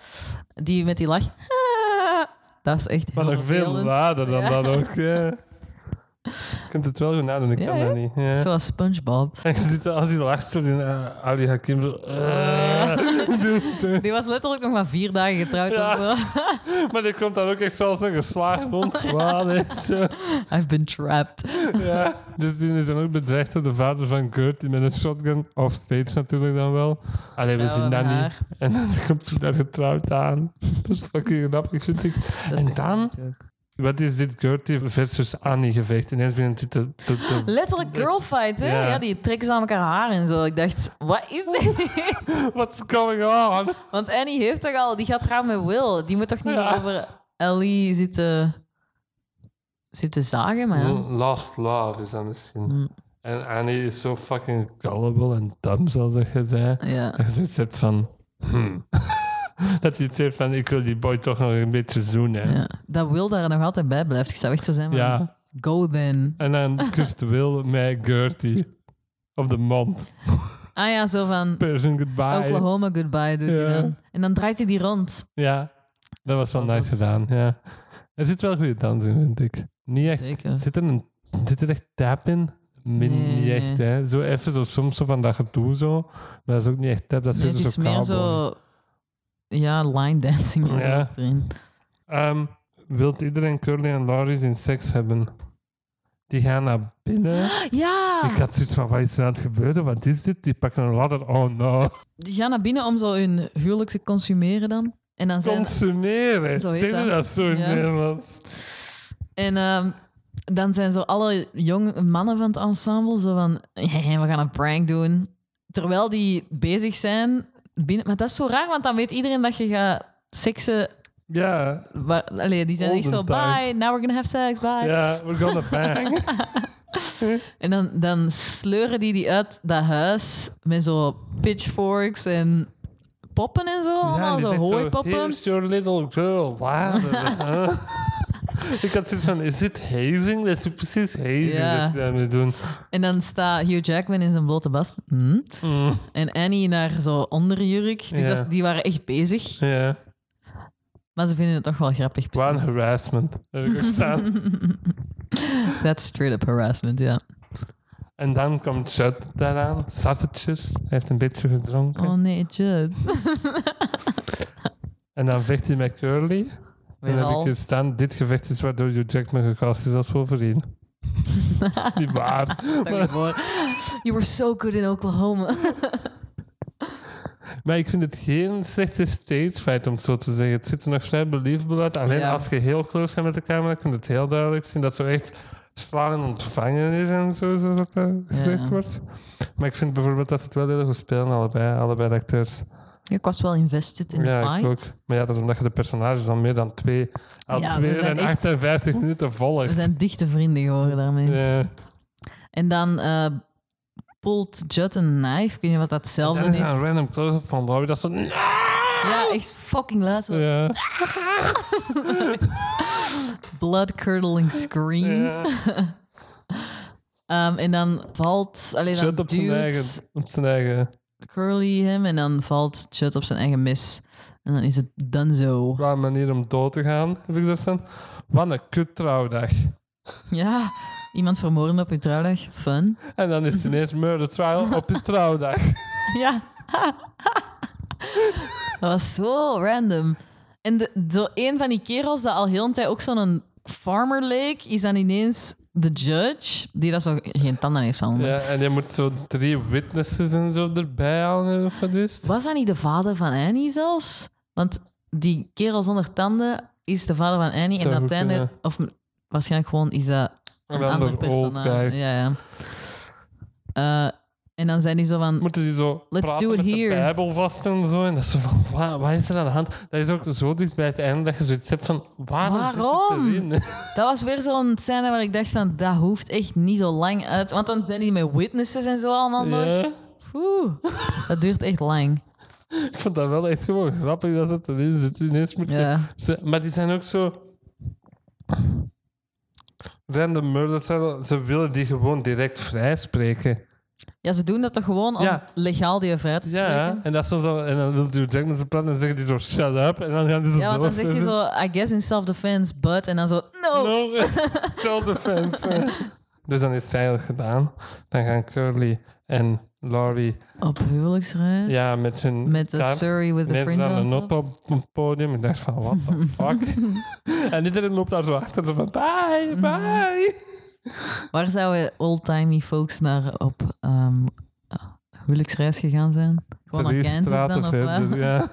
Speaker 2: Die met die lach. "Ah." Dat is echt
Speaker 1: Maar
Speaker 2: heel
Speaker 1: nog veel
Speaker 2: vervelend.
Speaker 1: lader dan
Speaker 2: Ja.
Speaker 1: dat ook. Ja.
Speaker 2: [LAUGHS]
Speaker 1: Je kunt het wel goed nadoen, ik
Speaker 2: Ja,
Speaker 1: kan
Speaker 2: hè?
Speaker 1: dat niet. Ja.
Speaker 2: Zoals SpongeBob.
Speaker 1: En je ziet dat als hij lacht, zo die eh, Ali Hakim zo... eh, [LAUGHS] doet zo.
Speaker 2: Die was letterlijk nog maar vier dagen getrouwd
Speaker 1: Ja.
Speaker 2: of zo.
Speaker 1: Maar die komt dan ook echt zoals een geslagen hond. zwaar, hè, zo.
Speaker 2: I've been trapped.
Speaker 1: Ja. Dus die is dan ook bedreigd door de vader van Kurt, die met een shotgun, of steeds natuurlijk dan wel. Allee, we
Speaker 2: Trouwen
Speaker 1: zien dat
Speaker 2: met
Speaker 1: niet.
Speaker 2: haar.
Speaker 1: [LAUGHS] En dan komt hij daar getrouwd aan. Dat is fucking grappig, vind ik.
Speaker 2: Dat is
Speaker 1: En
Speaker 2: echt
Speaker 1: dan
Speaker 2: een joke.
Speaker 1: Wat is dit Gertie versus Annie gevecht? Ineens begint dit te... te, te-
Speaker 2: [LAUGHS] Letterlijk girlfight, hè?
Speaker 1: Ja.
Speaker 2: Ja. die trekken ze aan elkaar haar en zo. Ik dacht, wat is dit? [LAUGHS]
Speaker 1: What's going on?
Speaker 2: Want Annie heeft toch al... Die gaat trouwen met Will. Die moet toch niet
Speaker 1: Ja.
Speaker 2: meer over Ellie zitten... Zitten zagen, maar... ja. Mm.
Speaker 1: Lost love is dat misschien. En Annie is zo fucking gullible en dom, zoals dat je zei.
Speaker 2: Ja.
Speaker 1: Dat je zoiets hebt van... Hmm. [LAUGHS] dat je iets hebt van, ik wil die boy toch nog een beetje zoenen.
Speaker 2: ja. Dat Will daar nog altijd bij blijft. Ik zou echt zo zijn van...
Speaker 1: Ja.
Speaker 2: Go then.
Speaker 1: En dan kust Will mij Gertie op de mond.
Speaker 2: Ah ja, zo van...
Speaker 1: Persian goodbye.
Speaker 2: Oklahoma goodbye doet
Speaker 1: Ja.
Speaker 2: hij dan. En dan draait hij die rond.
Speaker 1: Ja, dat was wel
Speaker 2: Dat was
Speaker 1: nice gedaan. Ja. Er zit wel goede dans in, vind ik. Niet echt.
Speaker 2: Zeker.
Speaker 1: Zit er, een, zit er echt tap in? Min,
Speaker 2: Nee,
Speaker 1: niet echt,
Speaker 2: nee.
Speaker 1: hè. Zo even, zo, soms zo van dat gedoe zo. Maar dat is ook niet echt tap, dat is
Speaker 2: Nee,
Speaker 1: weer
Speaker 2: het is
Speaker 1: zo
Speaker 2: meer
Speaker 1: kabel.
Speaker 2: zo... Ja, line dancing. en zo
Speaker 1: Ja.
Speaker 2: achterin.
Speaker 1: Ehm, wilt iedereen Curly en Laurie in seks hebben? Die gaan naar binnen.
Speaker 2: Ja!
Speaker 1: Ik had zoiets van, wat is er aan het gebeuren? Wat is dit? Die pakken een ladder. Oh no.
Speaker 2: Die gaan naar binnen om zo hun huwelijk te consumeren dan. En dan zijn,
Speaker 1: Consumeren.
Speaker 2: Zo heet
Speaker 1: Zeg je
Speaker 2: dat.
Speaker 1: dat zo in
Speaker 2: Ja.
Speaker 1: Nederlands?
Speaker 2: en, ehm, dan zijn zo alle jonge mannen van het ensemble zo van... [LAUGHS] "Hehe, We gaan een prank doen. Terwijl die bezig zijn binnen... Maar dat is zo raar, want dan weet iedereen dat je gaat seksen...
Speaker 1: Ja.
Speaker 2: Waar, allee, die zijn echt zo...
Speaker 1: Olden times.
Speaker 2: Bye, now we're gonna have sex, bye.
Speaker 1: Ja, we're gonna
Speaker 2: [LAUGHS]
Speaker 1: bang.
Speaker 2: En dan, dan sleuren die die uit dat huis met zo pitchforks en poppen en zo. allemaal
Speaker 1: die
Speaker 2: zo
Speaker 1: zegt
Speaker 2: hooipoppen.
Speaker 1: Here's your little girl. Later. [LAUGHS] Ik had zoiets van, is dit hazing? Dat is precies hazing
Speaker 2: Ja.
Speaker 1: dat ze daarmee doen.
Speaker 2: En dan staat Hugh Jackman in zijn blote bast. Hm. En Annie naar zo onderjurk. Dus
Speaker 1: Mm. Ja.
Speaker 2: dat is- die waren echt bezig.
Speaker 1: Ja.
Speaker 2: Maar ze vinden het toch wel grappig.
Speaker 1: Qua een harassment. Dat heb ik ook staan.
Speaker 2: [LAUGHS] That's straight up harassment, ja.
Speaker 1: en dan komt Judd daaraan. Sausages. Hij heeft een beetje gedronken.
Speaker 2: Oh nee, Judd.
Speaker 1: En dan vecht hij met Curly. En
Speaker 2: Weer
Speaker 1: dan heb
Speaker 2: al.
Speaker 1: ik hier staan. Dit gevecht is waardoor Hugh Jackman gecast is als
Speaker 2: [LAUGHS]
Speaker 1: Wolverine. Dat is niet waar.
Speaker 2: Dank je voor. [LAUGHS] You were so good in Oklahoma.
Speaker 1: Maar ik vind het geen slechte stage fight, om het zo te zeggen. Het ziet er nog vrij believable uit. Alleen
Speaker 2: Ja.
Speaker 1: als je heel close bent met de camera, kun je het heel duidelijk zien dat zo echt slaan en ontvangen is en zo, zoals dat eh, gezegd
Speaker 2: Ja.
Speaker 1: wordt. Maar ik vind bijvoorbeeld dat ze het wel heel goed spelen, allebei, allebei de acteurs.
Speaker 2: [LAUGHS] ik was wel invested in
Speaker 1: ja,
Speaker 2: the fight.
Speaker 1: ik ook. Maar ja, dat is omdat je de personages dan meer dan twee, al
Speaker 2: Ja, we
Speaker 1: twee en
Speaker 2: zijn echt-
Speaker 1: 58 minuten volgt.
Speaker 2: We zijn dichte vrienden geworden daarmee.
Speaker 1: Ja.
Speaker 2: En dan eh pullt Judd een knife. Ik weet niet wat dat hetzelfde
Speaker 1: Dat
Speaker 2: is.
Speaker 1: is een random close-up van Laurie, dat is zo...
Speaker 2: Ja, echt fucking laat. zo
Speaker 1: Ja.
Speaker 2: Blood-curdling screams.
Speaker 1: Ja.
Speaker 2: Ehm, en dan valt... Allee, dan
Speaker 1: Shut op zijn
Speaker 2: duwt-
Speaker 1: eigen. Op zijn eigen.
Speaker 2: Curly hem en dan valt Chut op zijn eigen mis. En dan is het Dunzo.
Speaker 1: Qua manier om dood te gaan, heb ik dat staan. Wat een kut trouwdag.
Speaker 2: Ja, iemand vermoorden op je trouwdag. Fun.
Speaker 1: En dan is het ineens murder trial op je trouwdag.
Speaker 2: Ja. [LAUGHS] Dat was zo random. En de, zo een van die kerels dat al heel een tijd ook zo'n farmer leek, is dan ineens de judge, die dat zo geen tanden heeft
Speaker 1: [LAUGHS]
Speaker 2: aan.
Speaker 1: Ja, en je moet zo drie witnesses en zo erbij halen, of wat is het?
Speaker 2: Was dat niet de vader van Annie zelfs? Want die kerel zonder tanden is de vader van Annie.
Speaker 1: Zou
Speaker 2: en op
Speaker 1: goed
Speaker 2: het einde,
Speaker 1: kunnen.
Speaker 2: of m- waarschijnlijk gewoon is dat een, ander, personage.
Speaker 1: guy.
Speaker 2: Ja, ja. Eh, en dan zijn die zo van.
Speaker 1: Moeten die zo
Speaker 2: Let's
Speaker 1: praten
Speaker 2: do it
Speaker 1: met
Speaker 2: here.
Speaker 1: de Bijbel vast en zo. En dat is zo van, wa- wat is er aan de hand? Dat is ook zo dicht bij het einde dat je zoiets hebt van, waarom,
Speaker 2: Waarom?
Speaker 1: zit het erin?
Speaker 2: Dat was weer zo'n scène waar ik dacht van, dat hoeft echt niet zo lang uit. Want dan zijn die met witnesses en zo allemaal nog.
Speaker 1: Ja.
Speaker 2: Oeh, dat duurt echt lang.
Speaker 1: Ik vond dat wel echt gewoon grappig dat het erin zit. Ineens moet je-
Speaker 2: Ja.
Speaker 1: ze- maar die zijn ook zo... Random murder trial, ze willen die gewoon direct vrijspreken.
Speaker 2: Ja, ze doen dat toch gewoon om
Speaker 1: Ja.
Speaker 2: legaal die vrij te spreken?
Speaker 1: Ja, en dat is soms al, en dan wil Hugh Jackman ze praten en zeggen die zo shut up en dan gaan die zo
Speaker 2: Ja, want dan
Speaker 1: zelf
Speaker 2: zeg je
Speaker 1: doen.
Speaker 2: zo, I guess in self-defense, but... En dan zo, "Oh." no!
Speaker 1: [LAUGHS] No,
Speaker 2: [LAUGHS]
Speaker 1: self-defense. dus dan is het eigenlijk gedaan. Dan gaan Curly en Laurie
Speaker 2: Op huwelijksreis.
Speaker 1: ja, met hun
Speaker 2: Dus Met de
Speaker 1: daar-
Speaker 2: Surrey with the
Speaker 1: Mensen
Speaker 2: fringe
Speaker 1: aan
Speaker 2: on
Speaker 1: een
Speaker 2: top.
Speaker 1: op op het podium. Ik dacht van, what the
Speaker 2: [LAUGHS]
Speaker 1: fuck? en iedereen loopt daar zo achter. Zo van, bye,
Speaker 2: Mhm.
Speaker 1: bye.
Speaker 2: Waar zouden old-timey folks naar op ehm huwelijksreis gegaan zijn? Gewoon naar
Speaker 1: Drie
Speaker 2: Kansas dan, of wat?
Speaker 1: ja.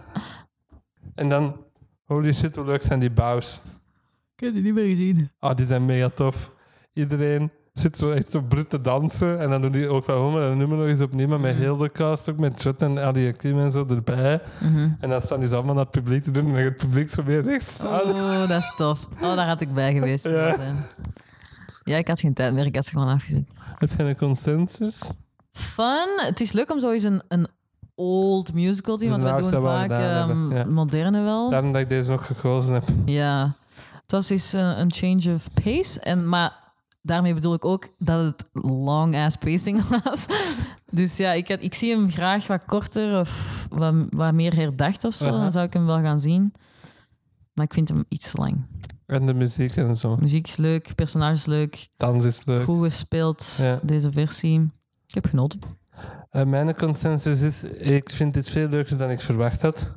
Speaker 1: En dan, holy shit, hoe leuk zijn die bouws.
Speaker 2: [LAUGHS] Ik heb die niet meer gezien.
Speaker 1: Ah, die zijn mega tof. Iedereen zit zo echt zo brut te dansen. En dan doen die ook van Homer en nummer nog eens opnieuw. Maar
Speaker 2: Mhm.
Speaker 1: met heel de cast, ook met Jut en Ali Kim en zo erbij. En dan staan die zo allemaal naar het publiek te doen. En dan gaat het publiek zo weer rechts staan.
Speaker 2: Mhm. Oh, dat is tof. Oh, daar had ik bij geweest.
Speaker 1: Ja.
Speaker 2: Ja, ik had geen tijd meer. Ik had ze gewoon afgezet.
Speaker 1: Heb je een consensus?
Speaker 2: Fun. Het is leuk om zoiets een, een old musical te zien,
Speaker 1: Het
Speaker 2: want
Speaker 1: is
Speaker 2: we
Speaker 1: het
Speaker 2: doen
Speaker 1: oudste wat we
Speaker 2: vaak
Speaker 1: gedaan
Speaker 2: ehm,
Speaker 1: hebben, ja.
Speaker 2: moderne wel.
Speaker 1: Daarom dat ik deze nog gekozen heb.
Speaker 2: Ja, het was eens eh, een change of pace. En, maar daarmee bedoel ik ook dat het long-ass pacing [LAUGHS] was. dus ja, ik, had, ik zie hem graag wat korter of wat, wat meer herdacht of zo.
Speaker 1: Aha.
Speaker 2: Dan zou ik hem wel gaan zien. Maar ik vind hem iets te lang.
Speaker 1: En de muziek en zo.
Speaker 2: Muziek is leuk, personage is leuk,
Speaker 1: Dans is leuk.
Speaker 2: goed gespeeld,
Speaker 1: Ja.
Speaker 2: deze versie. Ik heb genoten.
Speaker 1: Eh, mijn consensus is, ik vind dit veel leuker dan ik verwacht had.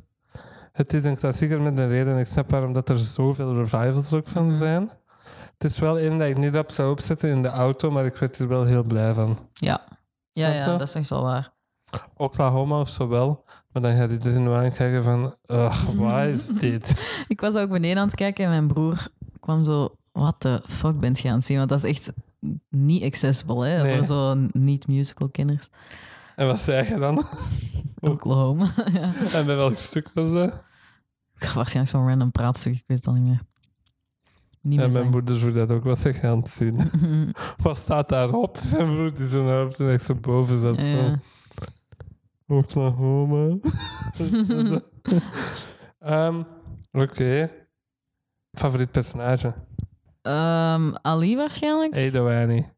Speaker 1: Het is een klassieker met een reden. Ik snap waarom dat er zoveel revivals ook van zijn. Het is wel één dat ik niet op zou opzetten in de auto, maar ik werd er wel heel blij van.
Speaker 2: Ja, ja,
Speaker 1: Snap je?
Speaker 2: ja dat is echt wel waar.
Speaker 1: Oklahoma of zo wel, maar dan gaat iedereen wel aankijken van, ugh, waar is dit?
Speaker 2: Ik was ook beneden aan het kijken en mijn broer kwam zo... What the fuck bent je aan het zien? Want dat is echt niet accessible, hè?
Speaker 1: Nee.
Speaker 2: Voor zo'n niet-musical kinders.
Speaker 1: en wat zei je dan?
Speaker 2: Oklahoma. [LAUGHS] ja.
Speaker 1: en bij welk stuk was dat?
Speaker 2: Ik ga waarschijnlijk zo'n random praatstuk, ik weet het al niet meer.
Speaker 1: En
Speaker 2: Niet meer
Speaker 1: mijn
Speaker 2: zeggen.
Speaker 1: broeder vroeg dat ook, wat zeg je aan het zien?
Speaker 2: [LAUGHS]
Speaker 1: wat staat daarop? Zijn broer die zijn haar toen echt zo boven zat.
Speaker 2: Ja,
Speaker 1: zo. oh,
Speaker 2: ja.
Speaker 1: Oklahoma.
Speaker 2: [LAUGHS]
Speaker 1: Ehm Oké. Favoriet personage?
Speaker 2: Ehm, Ali waarschijnlijk.
Speaker 1: Edo Annie.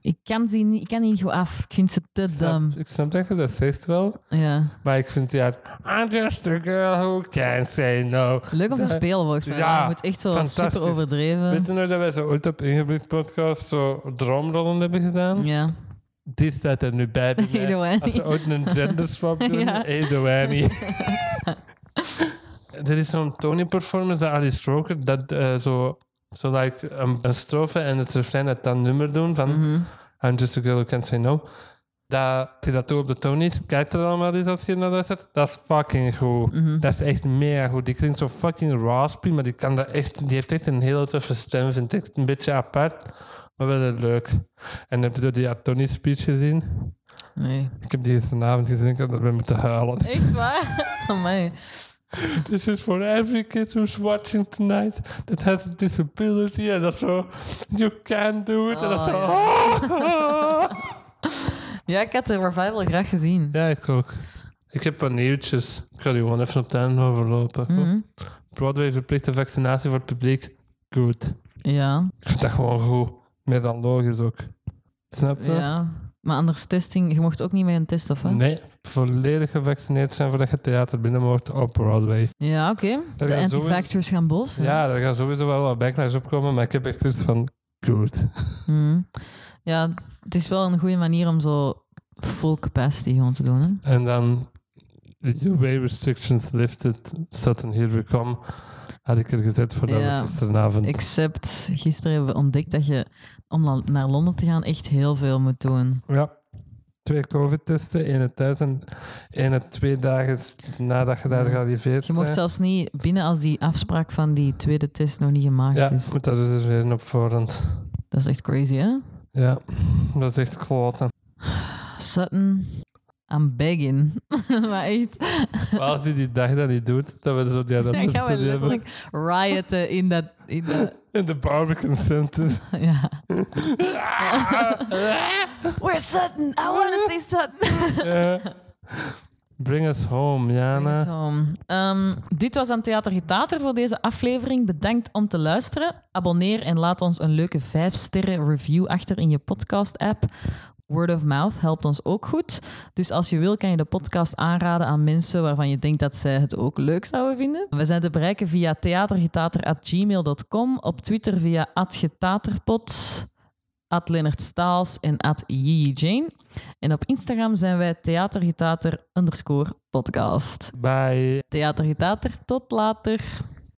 Speaker 2: Ik kan ze niet, ik kan niet goed af. Ik vind ze te
Speaker 1: Ik snap-
Speaker 2: dom.
Speaker 1: ik snap dat je dat zegt wel,
Speaker 2: Ja.
Speaker 1: maar ik vind ja, I'm just a girl who can't say no.
Speaker 2: Leuk om te
Speaker 1: Dat-
Speaker 2: spelen, volgens mij.
Speaker 1: Ja,
Speaker 2: je moet echt zo
Speaker 1: fantastisch.
Speaker 2: super overdreven.
Speaker 1: Weet je nog dat wij zo ooit op Ingebrigt podcast zo droomrollen hebben gedaan?
Speaker 2: Ja.
Speaker 1: Die staat er nu bij.
Speaker 2: [LAUGHS]
Speaker 1: bij mij.
Speaker 2: Edo Annie.
Speaker 1: Als ze ooit een
Speaker 2: [LAUGHS]
Speaker 1: genderswap doen,
Speaker 2: Ja.
Speaker 1: Edo
Speaker 2: [LAUGHS]
Speaker 1: Annie. er is zo'n Tony-performance dat Alice Roker, dat eh, zo, zo like, een, een strofe en het refrein dat dat nummer doen van
Speaker 2: Mhm.
Speaker 1: I'm just a girl who can't say no. Dat die dat doet op de Tony's, kijk er dan maar eens als je naar luistert. Dat is fucking goed.
Speaker 2: Mhm.
Speaker 1: Dat is echt mega goed. Die klinkt zo fucking raspy, maar die, kan dat echt, die heeft echt een hele toffe stem, vind ik. Een beetje apart, maar wel heel leuk. En heb je die Tony speech gezien?
Speaker 2: Nee.
Speaker 1: Ik heb die gisteravond gezien, ik had erbij moeten huilen.
Speaker 2: Echt [LAUGHS] waar? Amai.
Speaker 1: [LAUGHS] This is for every kid who's watching tonight that has a disability. En dat zo, you can do it. en dat
Speaker 2: Oh,
Speaker 1: zo, "Oh."
Speaker 2: ja. [LAUGHS] Ja, ik had de revival graag gezien.
Speaker 1: ja, ik ook. Ik heb wat nieuwtjes. Ik ga die gewoon even op de einde overlopen.
Speaker 2: Mhm.
Speaker 1: Broadway verplichte vaccinatie voor het publiek. Goed.
Speaker 2: Ja,
Speaker 1: Ik vind dat gewoon goed. Meer dan logisch ook. Snap je?
Speaker 2: ja. Maar anders testing, je mocht ook niet mee een test of wat?
Speaker 1: Nee, volledig gevaccineerd zijn voordat je theater binnen mocht op Broadway.
Speaker 2: Ja, oké. De
Speaker 1: gaat
Speaker 2: anti-vaxxers gaan boos. zijn.
Speaker 1: Ja, daar gaan sowieso wel wat backlash op komen, maar ik heb echt zoiets van... Goed.
Speaker 2: Mhm. ja, het is wel een goede manier om zo full capacity gewoon te doen. Hè?
Speaker 1: En dan... UA restrictions lifted, sudden here we come. Had ik er gezet voor dat
Speaker 2: Ja.
Speaker 1: we gisteravond...
Speaker 2: Except, gisteren hebben we ontdekt dat je om la- naar Londen te gaan echt heel veel moet doen.
Speaker 1: Ja. Twee covid-testen, één het thuis en één het twee dagen s- nadat je daar
Speaker 2: Ja.
Speaker 1: gearriveerd
Speaker 2: Mm. Je mocht
Speaker 1: bent.
Speaker 2: zelfs niet binnen als die afspraak van die tweede test nog niet gemaakt
Speaker 1: Ja,
Speaker 2: is.
Speaker 1: je moet dat reserveren op voorhand.
Speaker 2: Dat is echt crazy, hè?
Speaker 1: Ja, dat is echt kloten.
Speaker 2: Sutton, I'm begging. [LAUGHS] maar echt,
Speaker 1: Maar als hij die dag dat niet doet, dan we zo die andere
Speaker 2: [LAUGHS] dan gaan we
Speaker 1: studie hebben.
Speaker 2: letterlijk rioten in dat... In [LAUGHS] dat
Speaker 1: In de barbecue
Speaker 2: [LAUGHS]
Speaker 1: center.
Speaker 2: ja. We're Sutton, I want to see Sutton.
Speaker 1: Ja. Bring us home, Jana.
Speaker 2: Zo. Ehm, dit was aan Theater Getater voor deze aflevering. Bedankt om te luisteren. Abonneer en laat ons een leuke 5-sterren review achter in je podcast-app. Word of mouth helpt ons ook goed. Dus als je wil, kan je de podcast aanraden aan mensen waarvan je denkt dat zij het ook leuk zouden vinden. We zijn te bereiken via theatergetater.gmail.com, op Twitter via @getaterpod, at Lennart Staals en at Yee Jane. En op Instagram zijn wij theatergetater underscore podcast.
Speaker 1: Bye.
Speaker 2: Theatergetater, tot later.